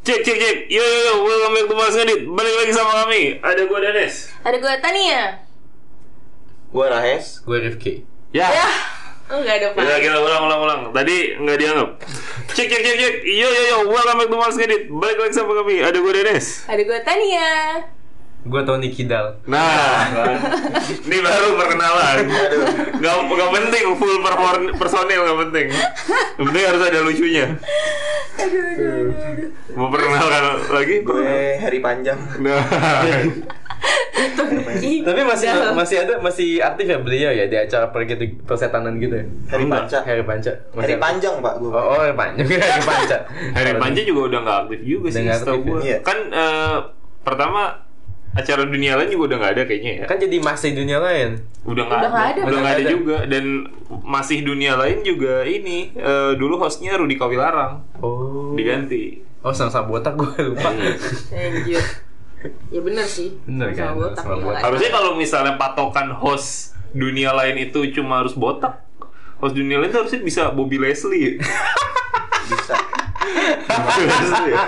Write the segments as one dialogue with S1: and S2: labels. S1: Cek cek cek. Yo yo yo, welcome back to Mas Ngedit. Balik lagi sama kami. Ada gua Danes.
S2: Ada gue Tania.
S3: Gue Rahes
S4: Gue Rifki
S1: Ya.
S2: Ya, enggak ada Pak.
S4: Iya,
S1: Gila
S4: gitu.
S1: gila ulang ulang ulang. Tadi nggak dianggap. Cek cek cek cek. Yo yo yo, welcome back to Mas Ngedit. Balik lagi sama kami. Ada gua Danes.
S2: Ada gue Tania.
S4: Gue Tony Kidal
S1: Nah, ini baru perkenalan. Gak, gak penting full perfor- personil gak penting. Yang penting harus ada lucunya. Mau perkenalkan lagi?
S3: Gue Hari Panjang
S1: Nah,
S2: Ih,
S4: Tapi masih
S2: udah.
S4: masih ada masih aktif ya beliau ya di acara pergi persetanan gitu ya
S3: Hari
S1: Enggak.
S3: Panca
S4: Hari Panca
S3: Hari
S4: Masih-
S3: Panjang pak gue
S4: Oh, oh Hari Panca Hari Panca
S1: Hari Panji juga udah gak aktif juga sih,
S4: Udah nggak
S1: setahu
S4: aktif
S1: gue.
S3: ya? Iya.
S1: Kan eh, pertama acara dunia lain juga udah gak ada kayaknya ya.
S4: Kan jadi masih dunia lain
S1: Udah gak ada,
S2: Udah nggak ada.
S1: udah nggak ada
S4: Udah nggak ada.
S1: juga. Dan masih dunia lain juga ini eh, dulu hostnya Rudi Kawilarang
S4: Oh
S1: diganti. Iya.
S4: Oh sama-sama botak gue lupa
S2: Anjir. Ya bener sih.
S4: Bener
S2: Sama
S4: kan?
S2: botak.
S4: Sama
S2: ya.
S4: botak.
S1: Harusnya kalau misalnya patokan host dunia lain itu cuma harus botak. Host dunia lain tuh harusnya bisa Bobby Leslie. ya.
S3: Bisa
S1: Bobby Leslie ya.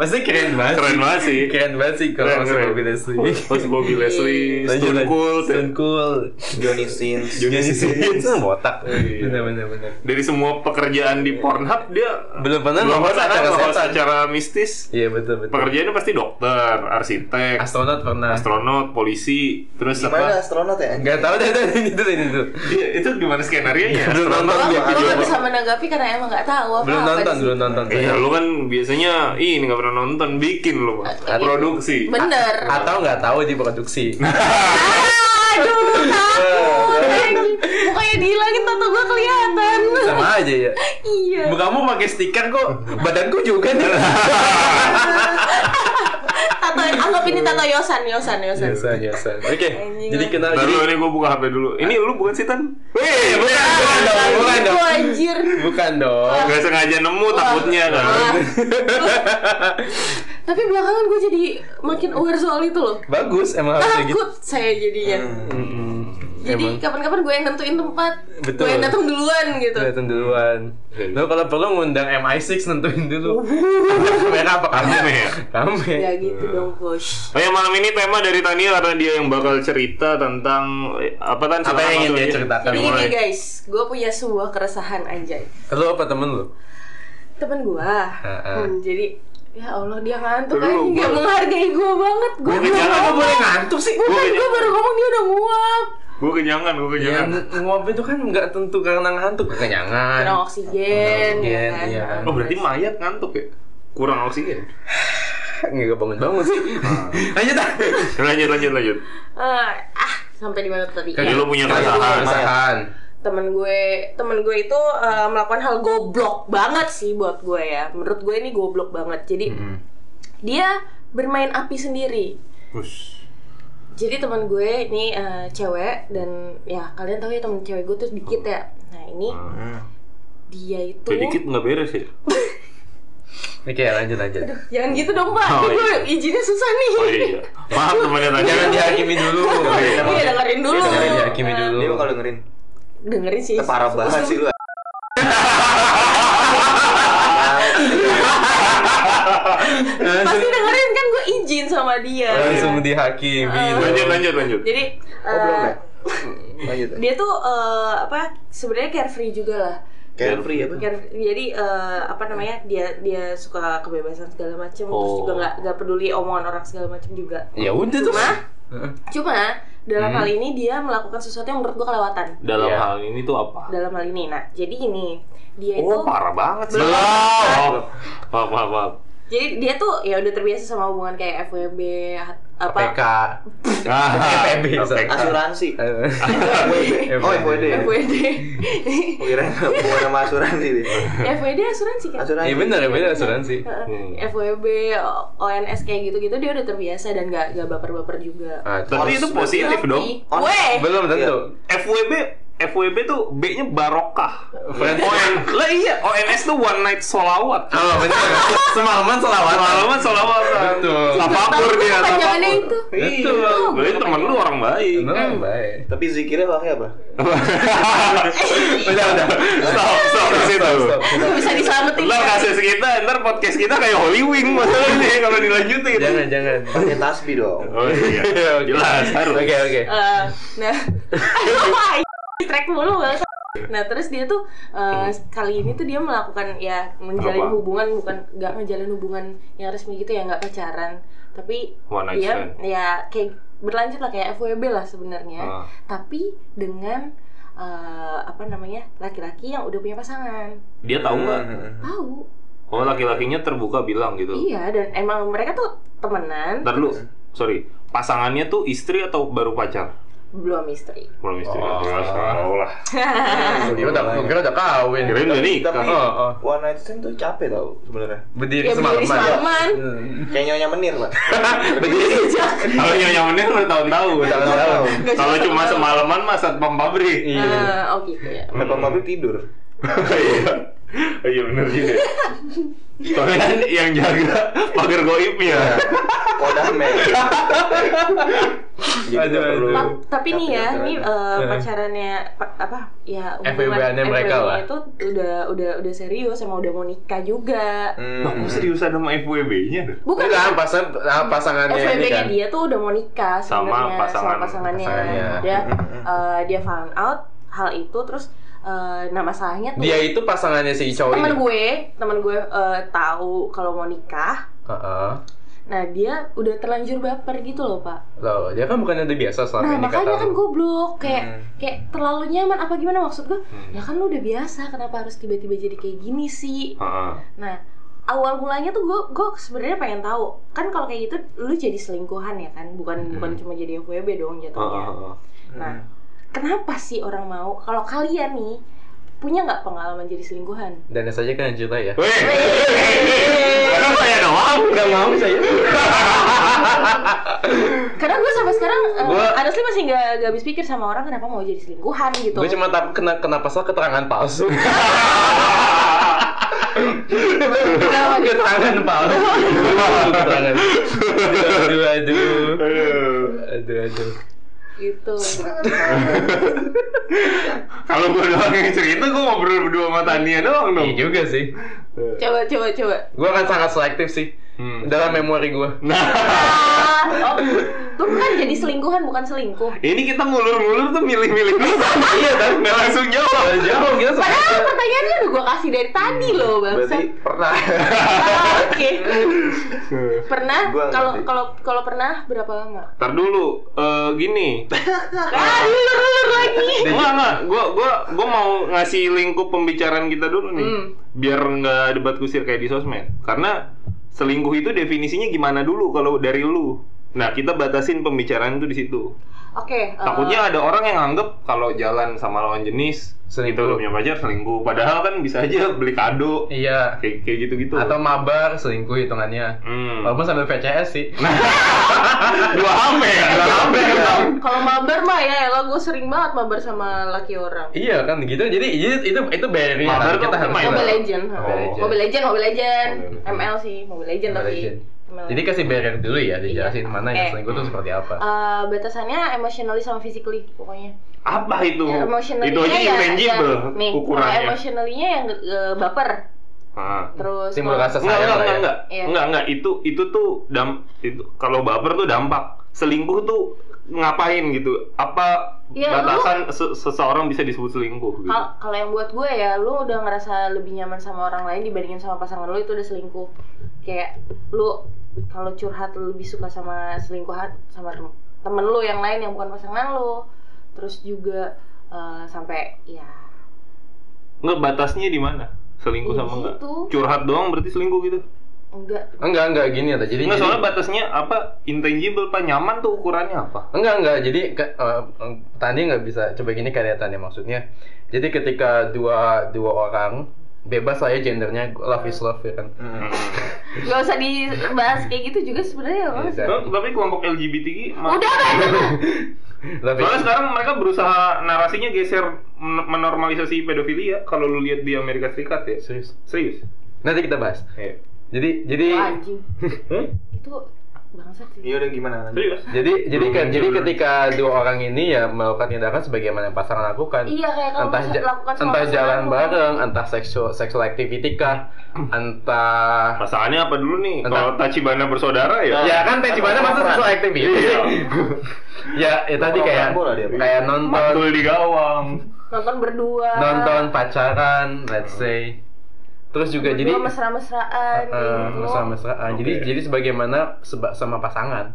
S4: Pasti keren banget
S1: Keren banget sih.
S4: Keren banget sih
S1: Keren,
S4: kalau
S1: keren.
S4: masuk mobil asli
S1: Host Bobby Leslie,
S4: Iya.
S1: Stone ya? Cool.
S4: Stone Iya Cool
S3: Johnny Sins
S1: Johnny
S4: Jadi
S1: Sins.
S4: kan botak
S1: Iya.
S4: Bener-bener bener.
S1: Dari semua pekerjaan di Pornhub dia
S4: Belum pernah
S1: belum
S4: nge-host
S1: pernah
S4: acara
S1: kan nge-host
S4: setan.
S1: acara mistis.
S4: Iya betul-betul
S1: Pekerjaannya pasti dokter, arsitek,
S4: Astronot pernah
S1: astronot, polisi, terus apa?
S3: Gimana astronot ya?
S4: Gak tau deh, deh, ini tuh, ini tuh.
S1: Dia- itu gimana skenario nya?
S4: Iya, Belum nonton,
S2: Lo,
S4: Dia
S2: lo
S4: video
S2: gak
S4: apa?
S2: bisa menanggapi karena emang gak tahu apa
S4: Belum nonton, belum nonton.
S1: Iya, lu kan biasanya ini nggak pernah nonton, bikin lu, Mas.
S2: Eh,
S1: produksi.
S2: Bener. Ah,
S4: Atau nggak tahu di produksi.
S2: Aduh, takut anjing. Pokoknya dihilangin tato gue kelihatan.
S4: Sama aja ya.
S2: Iya.
S4: Bu kamu pakai stiker kok, badanku juga nih.
S2: Tato anggap ini tato Yosan, Yosan, Yosan.
S4: Biasa, biasa. Oke,
S2: Anjing.
S4: jadi kenal
S1: Ntar
S4: jadi
S1: dulu ini gue buka HP dulu. Ini lu bukan sih Tan? Wih,
S4: bukan, bukan dong, bukan
S2: Itu
S4: dong.
S2: anjir.
S4: Bukan dong.
S1: Gak sengaja nemu takutnya kan.
S2: Wah. Ah. Tapi belakangan gue jadi makin aware soal itu loh.
S4: Bagus emang harus kayak gitu.
S2: Takut saya jadinya.
S3: Hmm.
S4: Mm-mm.
S2: Jadi
S4: Emang.
S2: kapan-kapan gue yang nentuin tempat,
S4: Betul.
S2: gue yang datang duluan gitu.
S4: Datang duluan.
S1: Iya.
S4: Lo kalau perlu ngundang MI6 nentuin dulu. Merah apa kamu?
S1: Rame ya?
S2: Ya
S4: Rame.
S2: Oh, iya. gitu dong, Coach.
S1: Oh ya malam ini tema dari Tania karena dia yang bakal cerita tentang eh, apa Tan?
S4: Apa yang
S1: Silakan
S4: ingin dia
S1: maksudnya.
S4: ceritakan?
S2: Jadi
S1: mulai.
S2: gini guys, gue punya sebuah keresahan anjay.
S4: Lo apa temen lo?
S2: Temen gue,
S4: Heeh.
S2: hmm, jadi ya Allah dia ngantuk
S1: Lu-
S2: anjing gak
S1: gua-
S2: menghargai gue banget. Gue
S1: Gua kenyang,
S4: Kenapa boleh ngantuk sih?
S1: gua
S2: Bukan, gue
S1: kenyang.
S2: Kan baru ngomong dia udah nguap.
S1: Gue kenyangan, gue
S4: Ya,
S1: kenyangan.
S4: nguap itu kan nggak tentu karena ngantuk kenyangan.
S2: Kurang oksigen,
S4: Kurang
S2: ya
S4: oksigen,
S2: kan?
S4: iya kan.
S1: Oh berarti mayat ngantuk ya? Kurang oksigen.
S4: Nggak bangun-bangun sih. Lanjut ah.
S1: Lanjut lanjut lanjut.
S2: Eh, ah, sampai di mana tadi?
S1: Jadi lu punya
S4: Kayak lu
S1: keresahan.
S4: keresahan.
S2: temen gue temen gue itu eh, melakukan hal goblok banget sih buat gue ya menurut gue ini goblok banget jadi
S4: Hmm.
S1: Hmm.
S2: dia bermain api sendiri
S1: Us.
S2: jadi teman gue ini eh, cewek dan ya kalian tahu ya temen cewek gue tuh dikit ya nah ini dia itu
S1: Sedikit nggak beres ya?
S4: Oke, lanjut lanjut.
S2: jangan gitu dong pak
S1: Oh,
S2: Ini gue izinnya susah nih
S1: Oh iya. Maaf temannya Tania.
S4: Jangan dihakimi dulu.
S1: iya.
S2: Iya, dengerin dulu. Nah,
S4: Jangan dihakimi dulu.
S3: Dia kalau dengerin
S2: dengerin sih
S3: Parah banget sih lu
S2: pasti dengerin kan gue izin sama dia
S4: Langsung
S2: Eh,
S4: dihakimi.
S1: Lanjut lanjut lanjut.
S2: jadi
S3: Oh belum
S2: eh,
S3: ya? Lanjut
S2: dia tuh eh, apa sebenarnya carefree juga lah
S3: Carefree apa?
S2: Kan, jadi eh, apa namanya dia dia suka kebebasan segala macem terus
S1: Oh.
S2: juga nggak nggak peduli omongan orang segala macem juga
S4: Ya udah tuh. Hmm.
S2: cuma
S4: Heeh.
S2: cuma dalam hal ini dia melakukan sesuatu yang menurut gua kelewatan
S1: Dalam
S4: Iya.
S1: hal ini tuh apa?
S2: dalam hal ini nah jadi ini dia itu
S1: Oh parah banget sih.
S4: Belum.
S1: Oh. Maaf maaf maaf.
S2: jadi dia tuh ya udah terbiasa sama hubungan kayak FWB apa
S4: PK.
S1: Ah,
S4: FPB, sorry.
S1: PK.
S3: Asuransi
S4: Eh,
S3: FWD Oh FWD ya?
S2: FWD
S3: Kira bukan nama asuransi dia
S2: FWD asuransi kan
S3: Asuransi
S4: Iya bener, ya bener
S2: Eh.
S4: asuransi.
S1: Hmm.
S2: FWB ONS kayak gitu-gitu dia udah terbiasa dan gak gak baper-baper juga
S4: Ah, tuh.
S1: Tapi itu positif dong.
S2: Weh!
S4: Belum tentu.
S1: FWB FWB tuh B-nya barokah.
S4: Friends.
S1: ON lah iya, ONS tuh one night solawat.
S4: Oh benar. Semalaman selawatan.
S1: Salaman solawatan.
S4: Betul.
S1: Tafakur dia.
S2: Kepanjangannya
S1: tafakur.
S2: itu.
S1: Itu.
S4: Betul.
S1: Berarti temen lu orang baik.
S4: Benar
S2: Hmm.
S4: baik.
S3: Tapi zikirnya pakai apa?
S4: Udah udah.
S1: Stop, stop di situ.
S2: Nggak bisa diselamatin.
S1: Ntar
S2: kan?
S1: kasus kita, ntar podcast kita kayak Holy Wing masalahnya kalau dilanjutin.
S4: Jangan jangan.
S3: Pakai tasbih dong.
S1: Oh iya, jelas harus.
S4: Oke oke.
S2: Eh, nah, Aduh, track mulu banget. Nah terus dia tuh eh, kali ini tuh dia melakukan ya menjalin
S1: Apa?
S2: hubungan bukan nggak menjalin hubungan yang resmi gitu ya nggak pacaran tapi
S1: One night
S2: dia
S1: stand.
S2: ya kayak berlanjut lah kayak FWB lah sebenarnya
S1: Ah.
S2: tapi dengan eh, apa namanya laki-laki yang udah punya pasangan
S1: Dia tahu nggak?
S4: Hmm.
S3: Hmm.
S2: tahu
S1: Oh laki-lakinya terbuka bilang gitu.
S2: iya dan emang mereka tuh temenan
S1: Ntar lu, sorry, pasangannya tuh istri atau baru pacar?
S2: belum istri
S1: Belum istri.
S4: Oh.
S1: tahu lah.
S4: Kira Iya, udah kira udah kawin.
S1: Eh, Kirain udah nikah.
S3: Tapi
S4: Oh, oh.
S3: one night stand tuh capek tau sebenarnya.
S4: Berdiri
S2: ya berdiri
S4: semalaman.
S2: semalaman
S1: Hmm.
S3: Kayak nyonya menir pak.
S4: Berdiri.
S1: Kalau yang yang bener udah tahun-tahun. Iya.
S3: Tahu-tahu.
S1: Kalau cuma semalaman mah satpam pabrik.
S4: Iya.
S2: Eh, oh gitu ya
S3: Kenapa pabrik tidur?
S1: Iya. Iya bener juga. Soalnya kan yang jaga pagar ya. goibnya.
S3: Kodamel. Jadi
S4: Aduh,
S3: nggak perlu.
S4: aduh.
S2: Ta- tapi nih ya,
S3: Tapi
S2: ini
S3: nggak
S2: eh,
S4: Eh.
S2: pacarannya pa- apa ya
S4: FWB-annya mereka lah.
S2: itu udah udah udah serius sama udah mau nikah juga.
S3: Hmm.
S1: Kamu serius ada sama FWB-nya?
S2: Bukan ya?
S4: Bukan pasang ah, pasangannya ini
S2: FWB-nya
S4: kan.
S2: dia tuh udah mau nikah
S1: Sama
S2: sebenarnya
S1: pasangan-
S2: sama pasangannya.
S4: pasangannya. Hmm,
S2: Dia
S3: Mm-mm.
S2: eh, dia found out hal itu terus eh, nah masalahnya tuh
S4: Dia itu pasangannya si cowok ini.
S2: teman gue teman gue eh, tahu kalau mau nikah.
S4: Heeh.
S2: Nah dia udah terlanjur baper gitu loh pak.
S4: Loh, dia kan bukannya udah biasa selama
S2: Nah
S4: ini kata
S2: makanya kan
S4: lu.
S2: goblok kayak
S3: Hmm.
S2: kayak terlalu nyaman apa gimana maksud gue?
S4: Hmm.
S2: Ya kan lu udah biasa kenapa harus tiba-tiba jadi kayak gini sih?
S1: Heeh.
S2: Nah awal mulanya tuh gue gue sebenarnya pengen tahu kan kalau kayak gitu lu jadi selingkuhan ya kan bukan
S4: Hmm.
S2: bukan cuma jadi FWB dong jatuhnya.
S4: Oh,
S1: Heeh.
S2: Nah kenapa sih orang mau kalau kalian nih punya nggak pengalaman jadi selingkuhan?
S4: Dan saja kan cinta ya.
S1: Weh, kenapa saya doang?
S4: Enggak mau saya.
S2: Karena gue sampai sekarang eh,
S4: Gua-
S2: honestly masih nggak nggak habis pikir sama orang kenapa mau jadi selingkuhan gitu.
S4: Gue cuma tak kena kena pasal keterangan palsu. keterangan palsu. keterangan. Aduh, aduh, aduh, aduh.
S2: gitu.
S1: Kalau gue doang yang cerita, gue ngobrol berdua sama Tania doang dong.
S4: Iya juga sih.
S2: coba coba coba.
S4: Gue akan sangat selektif sih
S1: Hmm. Nah,
S4: dalam memori gue.
S2: Ah, oh, tuh kan jadi selingkuhan bukan selingkuh.
S1: Ini kita ngulur-ngulur tuh milih-milih dulu. Iya, kan? Nggak langsung jawab.
S4: Jauh gitu.
S2: Padahal pertanyaannya udah gue kasih dari tadi loh bang. Ah,
S3: Berarti pernah.
S2: Oke. Pernah?
S3: Gua
S2: Kalau
S3: ngerti.
S2: kalau kalau pernah berapa lama?
S1: Ntar dulu, eh, gini.
S2: Ah, lulur lagi.
S1: Enggak, enggak. Gue gua, gua mau ngasih lingkup pembicaraan kita dulu nih.
S2: Hmm.
S1: Biar nggak debat kusir kayak di sosmed. Karena selingkuh itu definisinya gimana dulu kalau dari lu. Nah, kita batasin pembicaraan itu di situ.
S2: Oke. eh,
S1: Takutnya ada orang yang anggap kalau jalan sama lawan jenis
S4: Selingkuh.
S1: itu udah punya pacar selingkuh. Padahal kan bisa aja beli kado
S4: Iya.
S1: kayak kayak gitu-gitu.
S4: Atau mabar selingkuh hitungannya.
S1: Hmm.
S4: Walaupun sambil VCS sih.
S1: dua HP ya, dua HP.
S2: kalau mabar mah ya, lo gue sering banget mabar sama laki orang.
S4: Iya kan gitu. Jadi itu itu itu barrier
S1: Mabar tuh
S4: kita harus
S1: main.
S2: Mobile
S1: Iya.
S2: Legend.
S1: Oh.
S2: Mobile Legend, Mobile Legend.
S1: Mobile Legend.
S2: ML sih, Mobile Legend
S4: Mobile
S2: tapi.
S4: Legend.
S2: ML.
S4: Jadi kasih barrier dulu ya, dijelasin mana yang
S2: Eh.
S4: selingkuh itu seperti apa.
S2: Eh, batasannya emotionally sama physically pokoknya.
S1: Apa itu? itu
S2: Ya,
S1: aja
S2: emotionally-nya
S1: intangible
S2: ya, nih,
S1: ukurannya.
S2: kalau emotionally-nya yang eh, baper.
S1: Ah.
S2: Terus
S4: Timbul
S2: kalau-
S4: rasa
S1: Enggak,
S4: sayang
S1: enggak,
S4: lah
S1: enggak,
S4: ya.
S1: enggak.
S2: Iya.
S1: Enggak, enggak. Itu itu tuh dam itu kalau baper tuh dampak. Selingkuh tuh ngapain gitu? Apa
S2: Ya,
S1: batasan se- seseorang bisa disebut selingkuh gitu?
S2: Kal- kalau yang buat gue ya lu udah ngerasa lebih nyaman sama orang lain dibandingin sama pasangan lu itu udah selingkuh kayak lu kalau curhat lu lebih suka sama selingkuhan sama tem- temen lu yang lain yang bukan pasangan lu terus juga eh, sampai ya
S1: Enggak batasnya di mana? Selingkuh
S2: Iya,
S1: sama enggak?
S2: gitu.
S1: Curhat doang berarti selingkuh gitu.
S2: enggak
S4: Enggak, enggak gini ya. Jadi,
S1: Enggak
S4: jadi-
S1: soalnya batasnya apa? Intangible pak nyaman tuh ukurannya apa?
S4: enggak, enggak. Jadi ke- eh, eh, tadi nggak bisa coba gini kelihatannya maksudnya. Jadi ketika dua dua orang bebas lah ya gendernya love is love ya kan
S3: hmm.
S1: Hmm.
S2: Gak usah dibahas kayak gitu juga sebenarnya ya, Mas.
S4: Iya,
S1: Tuh, tapi kelompok LGBTQ ma-
S2: Udah kan?
S4: love is
S1: Soalnya sekarang mereka berusaha narasinya geser men- menormalisasi pedofilia kalau lu lihat di Amerika Serikat ya.
S4: serius
S1: Serius.
S4: nanti kita bahas
S3: Eh,
S1: Iya.
S4: jadi jadi
S2: Wah, anjing.
S1: Hmm?
S2: Itu bangsat sih.
S3: Iya udah gimana lanjut?
S1: Serius.
S4: jadi jadi
S1: Belum
S4: kan
S1: muncul,
S4: jadi
S1: belum.
S4: ketika dua orang ini ya melakukan tindakan sebagaimana yang pasangan lakukan
S2: Iya, kayak kalau
S4: entah
S2: bisa
S4: ja-
S2: lakukan sama
S4: entah
S2: pasangan
S4: jalan
S2: lakukan.
S4: bareng entah seksual seksual activity kah entah
S1: Pasangannya apa dulu nih?
S4: Entah.
S1: Kalau Tachibana bersaudara ya.
S4: ya kan Tachibana masa seksual activity
S1: Iya.
S4: ya, ya tadi kayak
S3: Bola dia, Pak.
S4: kayak nonton
S1: Matul di gawang.
S2: Nonton berdua.
S4: nonton pacaran let's say terus juga jadi
S2: Berdua mesra-mesraan
S4: eh,
S2: gitu.
S4: mesra-mesraan jadi
S1: Oke.
S4: jadi sebagaimana seba- sama pasangan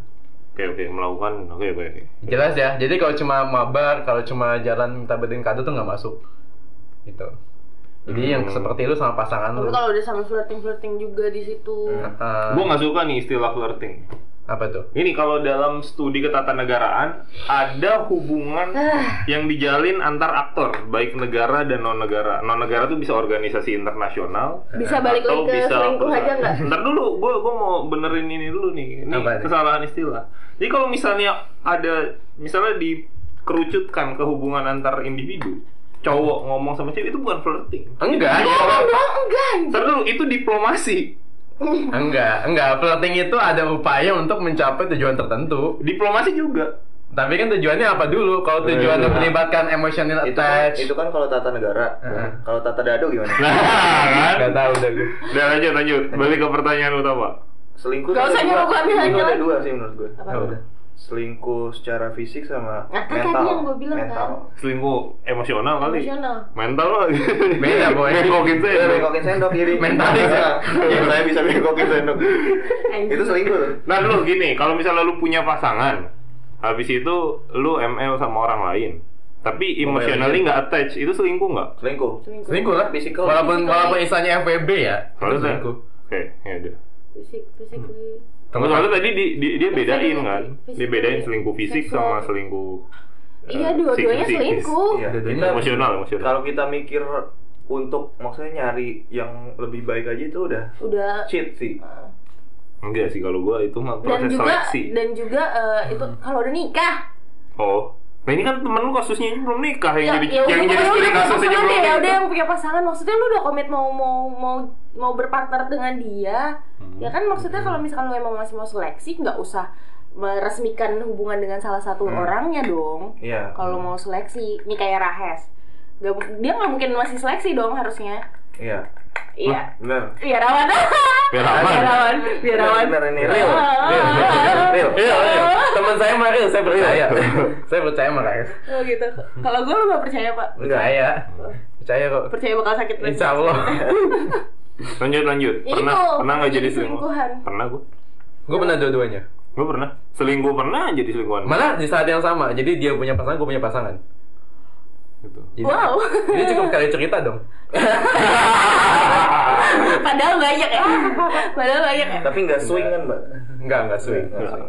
S1: Oke oke melakukan oke oke. oke.
S4: jelas ya jadi kalau cuma mabar kalau cuma jalan minta beliin kado tuh nggak masuk gitu jadi yang
S1: Hmm.
S4: seperti lu sama pasangan
S2: Tapi
S4: lu
S2: kalau udah sampai flirting-flirting juga di situ.
S4: Eh,
S1: Gue nggak suka nih istilah flirting.
S4: apa tuh
S1: Ini kalau dalam studi ketatanegaraan ada hubungan
S2: Ah,
S1: yang dijalin antar aktor baik negara dan non negara. Non negara tuh bisa organisasi internasional,
S2: Bisa balik lagi
S1: Atau
S2: ke
S1: bisa
S2: selingkuh
S1: perusahaan.
S2: aja nggak?
S1: Ntar dulu, gue gua mau benerin ini dulu nih. Ini
S4: Apa nih?
S1: kesalahan istilah. Jadi kalau misalnya ada, misalnya dikerucutkan ke hubungan antar individu, cowok ngomong sama cewek itu bukan flirting.
S4: enggak
S2: Enggak dong, enggak.
S1: Ntar dulu, itu diplomasi.
S4: enggak enggak flirting itu ada upaya untuk mencapai tujuan tertentu
S1: Diplomasi juga.
S4: tapi kan tujuannya apa dulu kalau tujuan
S1: Iya.
S4: melibatkan emotional
S3: Itu kan,
S4: attach
S3: itu kan kalau tata negara.
S4: Heeh.
S3: Kalau tata dado gimana?
S1: Nah, kan?
S4: nggak tahu udah gue
S1: Udah lanjut, lanjut. Balik ke pertanyaan utama.
S3: Selingkuh
S2: Gak
S3: tuh
S2: usah
S3: ada
S2: nyuruh
S3: dua.
S2: gua ambil
S3: Selingkuh ada
S2: aja.
S3: dua sih menurut gue.
S2: Apa?
S4: Ya udah.
S3: Selingkuh secara fisik sama
S2: Nah, kan
S3: mental.
S2: tadi yang gua bilang, kan.
S3: mental.
S1: Selingkuh emosional kali.
S2: Emosional.
S1: Mental lo.
S4: Beda, Boy.
S1: Bengkokin saya.
S3: Iya, bengkokin sendok jadi
S4: Mentalis ya?
S3: Iya, saya bisa bengkokin sendok.
S2: Anjing.
S3: itu selingkuh. tuh.
S1: Nah lu gini, kalau misalnya lu punya pasangan, habis itu lu ML sama orang lain, tapi emotionally
S4: gitu.
S1: nggak attach, itu selingkuh nggak?
S3: Selingkuh.
S2: Selingkuh.
S4: selingkuh lah
S3: Physical.
S4: walaupun
S2: Physical.
S4: walaupun istilahnya FWB ya itu
S1: Harusnya.
S4: selingkuh
S1: Oke, ya udah.
S2: Fisik,
S4: Hmm.
S2: physically.
S1: Tapi soalnya tadi di- di- dia bedain
S2: Physically,
S1: kan, dia
S2: physically.
S1: bedain selingkuh fisik
S2: Seksual.
S1: sama selingkuh. eh,
S2: Iya, dua-duanya
S1: psikis.
S2: selingkuh.
S3: Iya.
S4: Dua-duanya
S3: Kita-
S1: Emosional, emosional.
S3: Kalau kita mikir untuk maksudnya nyari yang lebih baik aja itu udah
S2: Udah
S3: cheat sih.
S1: Enggak sih kalau gua itu mah proses
S2: dan juga
S1: seleksi.
S2: dan juga eh, itu
S4: Hmm.
S2: kalau udah nikah
S1: Oh. Nah ini kan temen lu kasusnya ini belum nikah yang jadi yang
S2: Ya, udah-
S1: jadi
S2: udah
S1: studi
S2: punya
S1: kasus aja
S2: pasangan
S1: belum.
S2: deh, ya udah
S1: nikah.
S2: yang punya pasangan maksudnya lu udah komit mau mau mau mau berpartner dengan dia ya kan maksudnya kalau misalkan lu emang masih mau seleksi nggak usah meresmikan hubungan dengan salah satu orangnya dong
S3: Iya.
S2: kalau mau seleksi nih kayak Rahes Nggak- dia nggak mungkin masih seleksi dong harusnya
S3: Iya.
S2: iya
S3: Benar.
S2: iya rawan
S1: Biar aman.
S2: biarawan biarawan
S3: Benar ini
S4: Real.
S3: real.
S4: Real.
S3: Real.
S4: Iya, Ah. iya. teman saya mah real, saya
S1: Iya.
S4: percaya. saya percaya sama Raif.
S2: oh gitu kalau gue lu nggak percaya pak
S4: Percaya. Percaya kok.
S2: percaya bakal sakit lagi.
S4: Insya Allah.
S1: Lanjut lanjut.
S2: Itu,
S1: Pernah pernah nggak
S2: jadi
S1: jadi selingkuh?
S2: selingkuhan.
S1: Pernah gua.
S4: gue pernah dua-duanya.
S1: Gue pernah selingkuh pernah jadi selingkuhan.
S4: Malah di saat yang sama. Jadi dia punya pasangan, gue punya pasangan.
S1: Gitu.
S4: Jadi,
S2: Wow.
S4: Jadi cukup kali cerita dong.
S2: Padahal banyak ya. Padahal banyak ya.
S3: Tapi nggak swing kan, Mbak?
S4: Enggak, enggak swing.
S3: Nggak swing.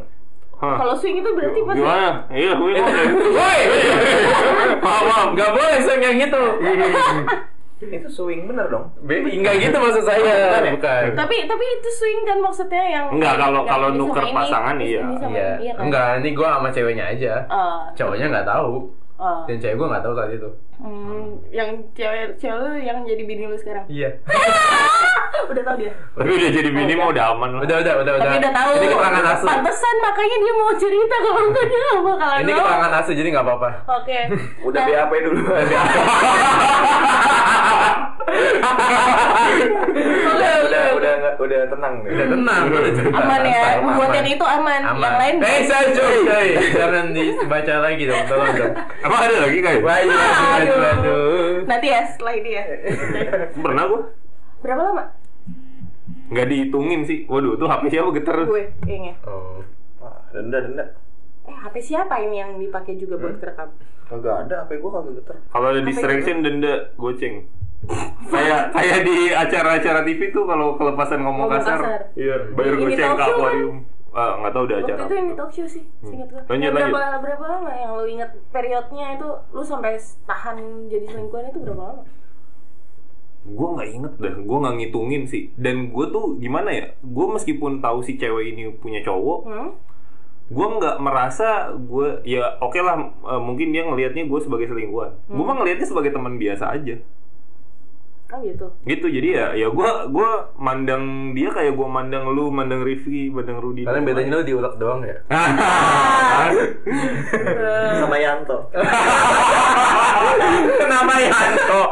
S1: Hah.
S2: Kalau swing itu berarti pas
S1: Gimana? Iya, gue mau
S4: Woi.
S1: Maaf, maaf.
S4: Enggak Oh, boleh swing yang gitu.
S3: Itu swing bener dong.
S4: Be- Enggak gitu maksud saya. Bukan.
S2: tapi tapi itu swing kan maksudnya yang
S1: Enggak, kalau-
S2: yang
S1: kalau
S2: ini sama
S1: nuker
S2: ini,
S1: pasangan,
S2: terus
S1: iya.
S2: ini sama
S4: Iya.
S2: ini, kan?
S4: Enggak, ini gue sama ceweknya aja.
S2: Eh,
S4: Cowoknya enggak tahu.
S2: eh,
S4: Dan cewek gue enggak tahu saat itu.
S2: hmm, yang cewek cewek lu yang jadi bini lu sekarang
S4: Iya.
S2: udah tau dia
S1: Tapi udah jadi bini mau udah aman lah.
S4: Udah, udah, udah, udah.
S2: tapi udah tahu
S4: Ini keterangan asli.
S2: pantesan makanya dia mau cerita kalau enggak dia nggak bakalan
S4: Ini
S2: tahu.
S4: keterangan asli jadi nggak apa-apa.
S2: oke Nah,
S3: Udah
S4: Nah.
S3: BAP dulu. udah, udah, udah, nggak- udah tenang nih.
S4: Udah tenang. udah cerita.
S2: aman ya
S4: Aman,
S2: buat yang
S4: aman.
S2: itu aman,
S4: Aman.
S2: yang lain
S4: Eh, saya cuy. cuy. Jangan dibaca lagi dong, tolong dong. iya,
S1: Emang ada lagi kayak?
S4: Waduh, waduh,
S2: Aduh.
S4: waduh.
S2: nanti ya setelah ini ya
S1: Pernah gue?
S2: berapa lama
S1: Nggak dihitungin sih. Waduh, tuh HP siapa geter?
S2: gue kayaknya
S4: Oh.
S3: Wah, Ah, denda, denda.
S2: eh HP siapa ini yang dipakai juga
S1: Eh?
S2: buat rekam
S3: Kagak ada, HP gua kagak geter.
S1: Kalau ada distraction denda goceng. kayak kayak di acara-acara TV tuh kalau kelepasan ngomong
S2: Ngomong
S1: kasar.
S2: kasar.
S1: Iya, bayar
S2: Ini
S1: goceng
S2: talk
S1: ke
S2: show kan?
S1: akuarium. Ah, nggak tahu udah acara.
S2: waktu itu yang di talk show sih ingat gue
S1: Hmm. Lanjut, lanjut.
S2: berapa berapa lama yang lu inget periodnya itu lu sampai tahan jadi selingkuhan itu berapa lama
S1: gue nggak inget dah gue nggak ngitungin sih dan gue tuh gimana ya gue meskipun tahu si cewek ini punya cowok
S2: Hmm?
S1: gue nggak merasa gue ya oke lah eh, mungkin dia ngelihatnya gue sebagai selingkuhan gue
S2: Hmm.
S1: mah ngelihatnya sebagai teman biasa aja
S2: Oh gitu.
S1: gitu jadi ya ya gue gua mandang dia kayak gue mandang lu mandang Rifki mandang Rudi
S4: Kalian bedanya lu diulek doang ya?
S3: sama Yanto
S1: Kenapa Yanto?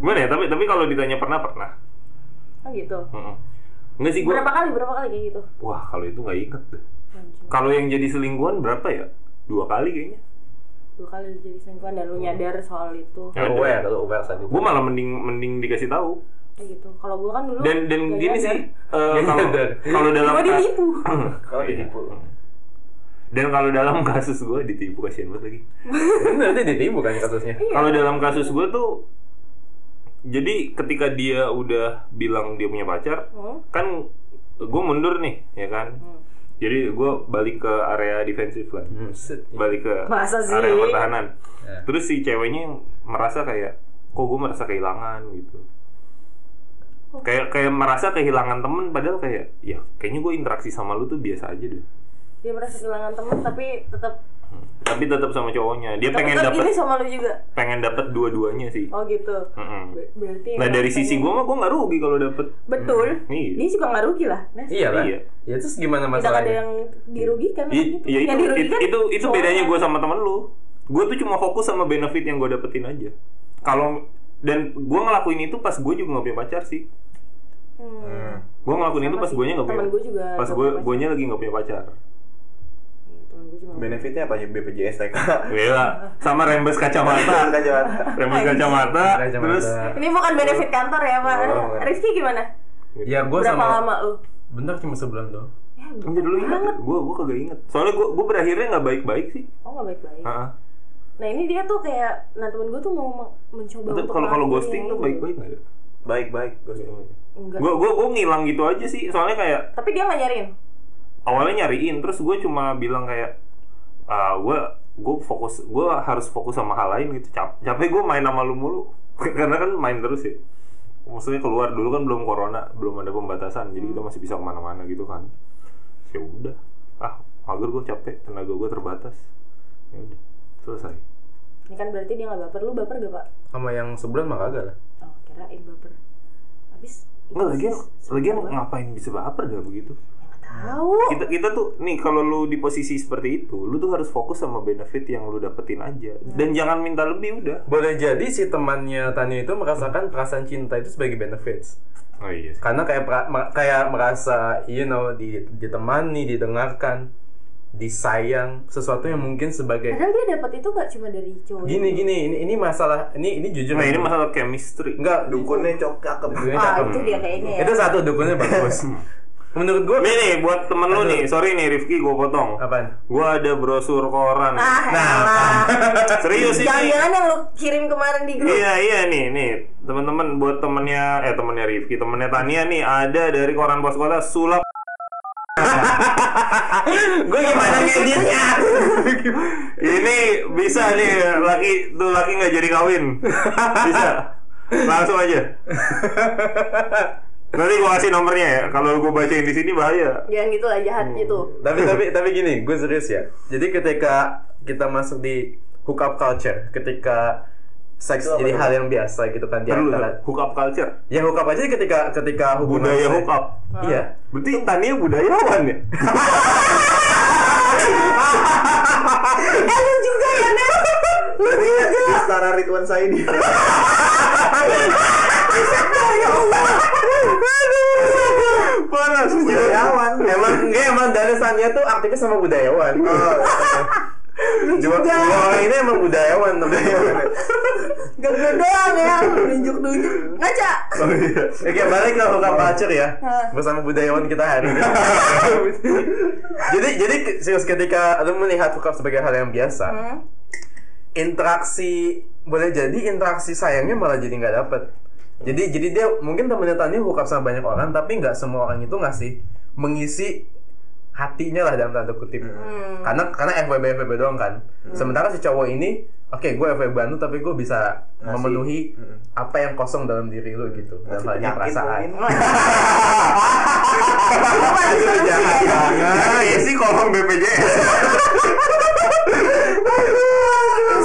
S1: Gimana ya? Tapi tapi kalau ditanya pernah pernah.
S2: Oh gitu.
S1: Mm-mm. Enggak sih gue.
S2: Berapa kali? Berapa kali kayak gitu?
S1: Wah kalau itu nggak inget deh. Kalau yang jadi selingkuhan berapa ya? Dua kali kayaknya.
S2: Dua kali lu jadi selingkuhan dan lu
S1: Oh.
S2: nyadar soal itu.
S1: Ada.
S4: Aware, lu aware saat itu
S1: Gue malah mending mending dikasih tahu.
S2: Kayak gitu. Kalau gua kan dulu
S1: Dan dan
S2: nggak
S1: gini
S2: nyadar.
S1: sih. eh, kalau
S4: Nyadar.
S1: kalau dalam
S2: Gua ditipu.
S3: kalau Oh, ditipu
S1: Dan kalau dalam kasus gue ditipu kasihan banget lagi.
S2: Iya.
S4: Bener, dia ditipu kan kasusnya
S1: Kalau dalam kasus gue tuh, jadi ketika dia udah bilang dia punya pacar,
S2: Hmm?
S1: kan gue mundur nih, ya kan?
S2: Hmm.
S1: Jadi gue balik ke area defensif kan,
S4: Hmm, set.
S1: balik ke
S2: Masa sih?
S1: area pertahanan.
S4: Ya.
S1: Terus si ceweknya yang merasa kayak, kok gue merasa kehilangan gitu.
S2: Oh.
S1: Kayak kayak merasa kehilangan temen, padahal kayak, ya kayaknya gue interaksi sama lu tuh biasa aja deh.
S2: Dia merasa kehilangan teman tapi tetap
S1: Tapi tetap sama cowoknya, dia
S2: tetap
S1: pengen
S2: tetap
S1: dapet
S2: gini sama lu juga.
S1: pengen dapet dua-duanya sih.
S2: Oh gitu.
S1: Mm-mm.
S2: Ber-
S1: Nah
S2: Berarti emang
S1: dari
S2: pengen-
S1: sisi gue mah gue nggak rugi kalau dapet
S2: betul.
S1: Iya.
S2: Dia juga nggak rugi lah. Nes.
S4: Iya lah
S1: Iya.
S4: Ya terus gimana
S2: Tidak ada
S4: masalahnya?
S2: yang dirugikan.
S1: I-
S2: kan gitu.
S1: ya itu,
S2: Yang
S1: it-
S2: dirugikan
S1: itu itu
S2: cowoknya.
S1: bedanya gue sama temen lu. Gue tuh cuma fokus sama benefit yang gue dapetin aja. Kalau dan gue ngelakuin itu pas gue juga gak punya pacar sih.
S2: Hmm.
S1: Gue ngelakuin itu
S2: Sama
S1: pas
S2: sih.
S1: gue nya gak punya.
S2: Temen gua juga
S1: Pas
S2: gak
S1: gue
S2: punya
S1: gue nya lagi gak punya pacar.
S2: Iya, temen gua juga.
S3: benefitnya apa ya BPJS TK
S1: Gila. Sama rembes
S3: Apaan
S1: kacamata.
S3: kacamata
S1: rembes kacamata.
S4: Kacamata.
S1: Terus
S2: Ini bukan benefit kantor ya, Pak.
S3: Oh.
S1: iya.
S2: Rizky gimana?
S4: Ya gue
S2: Berapa
S4: sama
S2: lama lu?
S4: Bentar cuma sebulan doang
S2: Ya,
S1: Anjir lu inget? Gue gue kagak inget. Soalnya gue gue berakhirnya nggak baik baik sih.
S2: Oh nggak baik-baik.
S1: Heeh.
S2: Nah ini dia tuh kayak, nah temen gue tuh mau me- mencoba
S1: Tapi
S2: untuk
S1: kalau kalau
S2: ngelakuin
S1: ghosting tuh
S2: itu.
S1: baik baik nggak ya?
S3: baik baik ghosting
S2: Enggak.
S1: Gue gue gue ngilang gitu aja sih. Soalnya kayak
S2: Tapi dia nggak nyariin.
S1: awalnya nyariin terus gue cuma bilang kayak ah gue gue fokus gue harus fokus sama hal lain gitu Cap- capek gue main sama lu mulu karena kan main terus ya maksudnya keluar dulu kan belum corona belum ada pembatasan jadi kita masih bisa kemana-mana gitu kan Terus ya udah ah mager gue capek tenaga gue terbatas ya udah selesai
S2: Ini kan berarti dia nggak baper. Lu baper gak pak?
S4: Sama yang sebulan mah kagak lah
S2: Oh kirain baper. Abis
S1: Enggak lagian lagian ngapain bisa baper dah begitu
S2: ya, tahu.
S1: kita kita tuh nih kalau lu di posisi seperti itu lu tuh harus fokus sama benefit yang lu dapetin aja dan jangan minta lebih udah
S4: Boleh jadi si temannya Tania itu merasakan perasaan cinta itu sebagai benefits
S1: oh iya sih.
S4: karena kayak pra- mer- kayak merasa you know di- ditemani didengarkan disayang sesuatu yang mungkin sebagai
S2: Padahal gitu. dia dapat itu gak cuma dari cowok.
S4: gini gini ini ini masalah ini ini jujur
S1: nah ini masalah chemistry
S4: enggak
S3: dukunnya cok cakep
S4: dukunnya
S2: Ah
S4: cakep.
S2: itu dia kayaknya ya.
S4: itu satu dukunnya bagus menurut gue
S1: nih nih buat temen lu nih sorry nih Rifki gue potong
S4: apaan
S1: gue ada brosur koran
S2: Ah,
S1: Nah, serius
S2: jangan
S1: ini
S2: jangan yang lu kirim kemarin di grup.
S1: iya iya nih nih teman-teman buat temennya eh temennya Rifki temennya Tania nih ada dari koran pos kota sulap
S4: gue gimana ngeditnya
S1: ini bisa nih laki tuh laki nggak jadi kawin bisa langsung aja nanti gua kasih nomornya ya kalau gua bacain di sini bahaya
S2: Jangan gitu lah jahat gitu.
S1: Hmm.
S4: tapi tapi tapi gini gue serius ya jadi ketika kita masuk di hookup culture ketika seks
S3: Itu apa
S4: jadi
S3: tuh?
S4: hal yang biasa gitu kan di
S1: perlu
S4: antara-
S1: hook up culture
S4: Ya hookup aja ketika ketika hubungan
S1: budaya
S4: saya-
S1: hook up
S4: Iya.
S1: berarti Tania budayawan ya
S3: setara Ridwan Saidi
S5: Iya,
S1: parah
S4: Budayawan. Emang enggak emang dalasannya tuh aktifnya sama budayawan.
S1: Oh, iya.
S4: Jual jual ini emang budayawan namanya.
S2: Gak gue doang ya, nunjuk-nunjuk. Ngaca.
S4: Oke Eh, balik ke hookup
S3: Iya.
S4: culture ya bersama budayawan kita hari ini. jadi jadi ke- serius ketika lu melihat hookup sebagai hal yang biasa,
S2: Hmm?
S4: interaksi boleh jadi interaksi sayangnya malah jadi nggak dapet. Jadi jadi dia mungkin temennya Tani hookup sama banyak orang tapi nggak semua orang itu ngasih mengisi hatinya lah dalam tanda kutip.
S2: Hmm.
S3: Hmm.
S4: karena karena FWB FWB doang kan sementara si cowok ini Oke, gue FW Banu tapi gue bisa
S3: Ngasih.
S4: memenuhi
S3: Mm-mm.
S4: apa yang kosong dalam diri lu gitu. Dalam hal ini
S3: penyakit
S4: perasaan.
S3: mungkin.
S4: Aduh, jangan, jangan.
S1: isi kolom BPJS.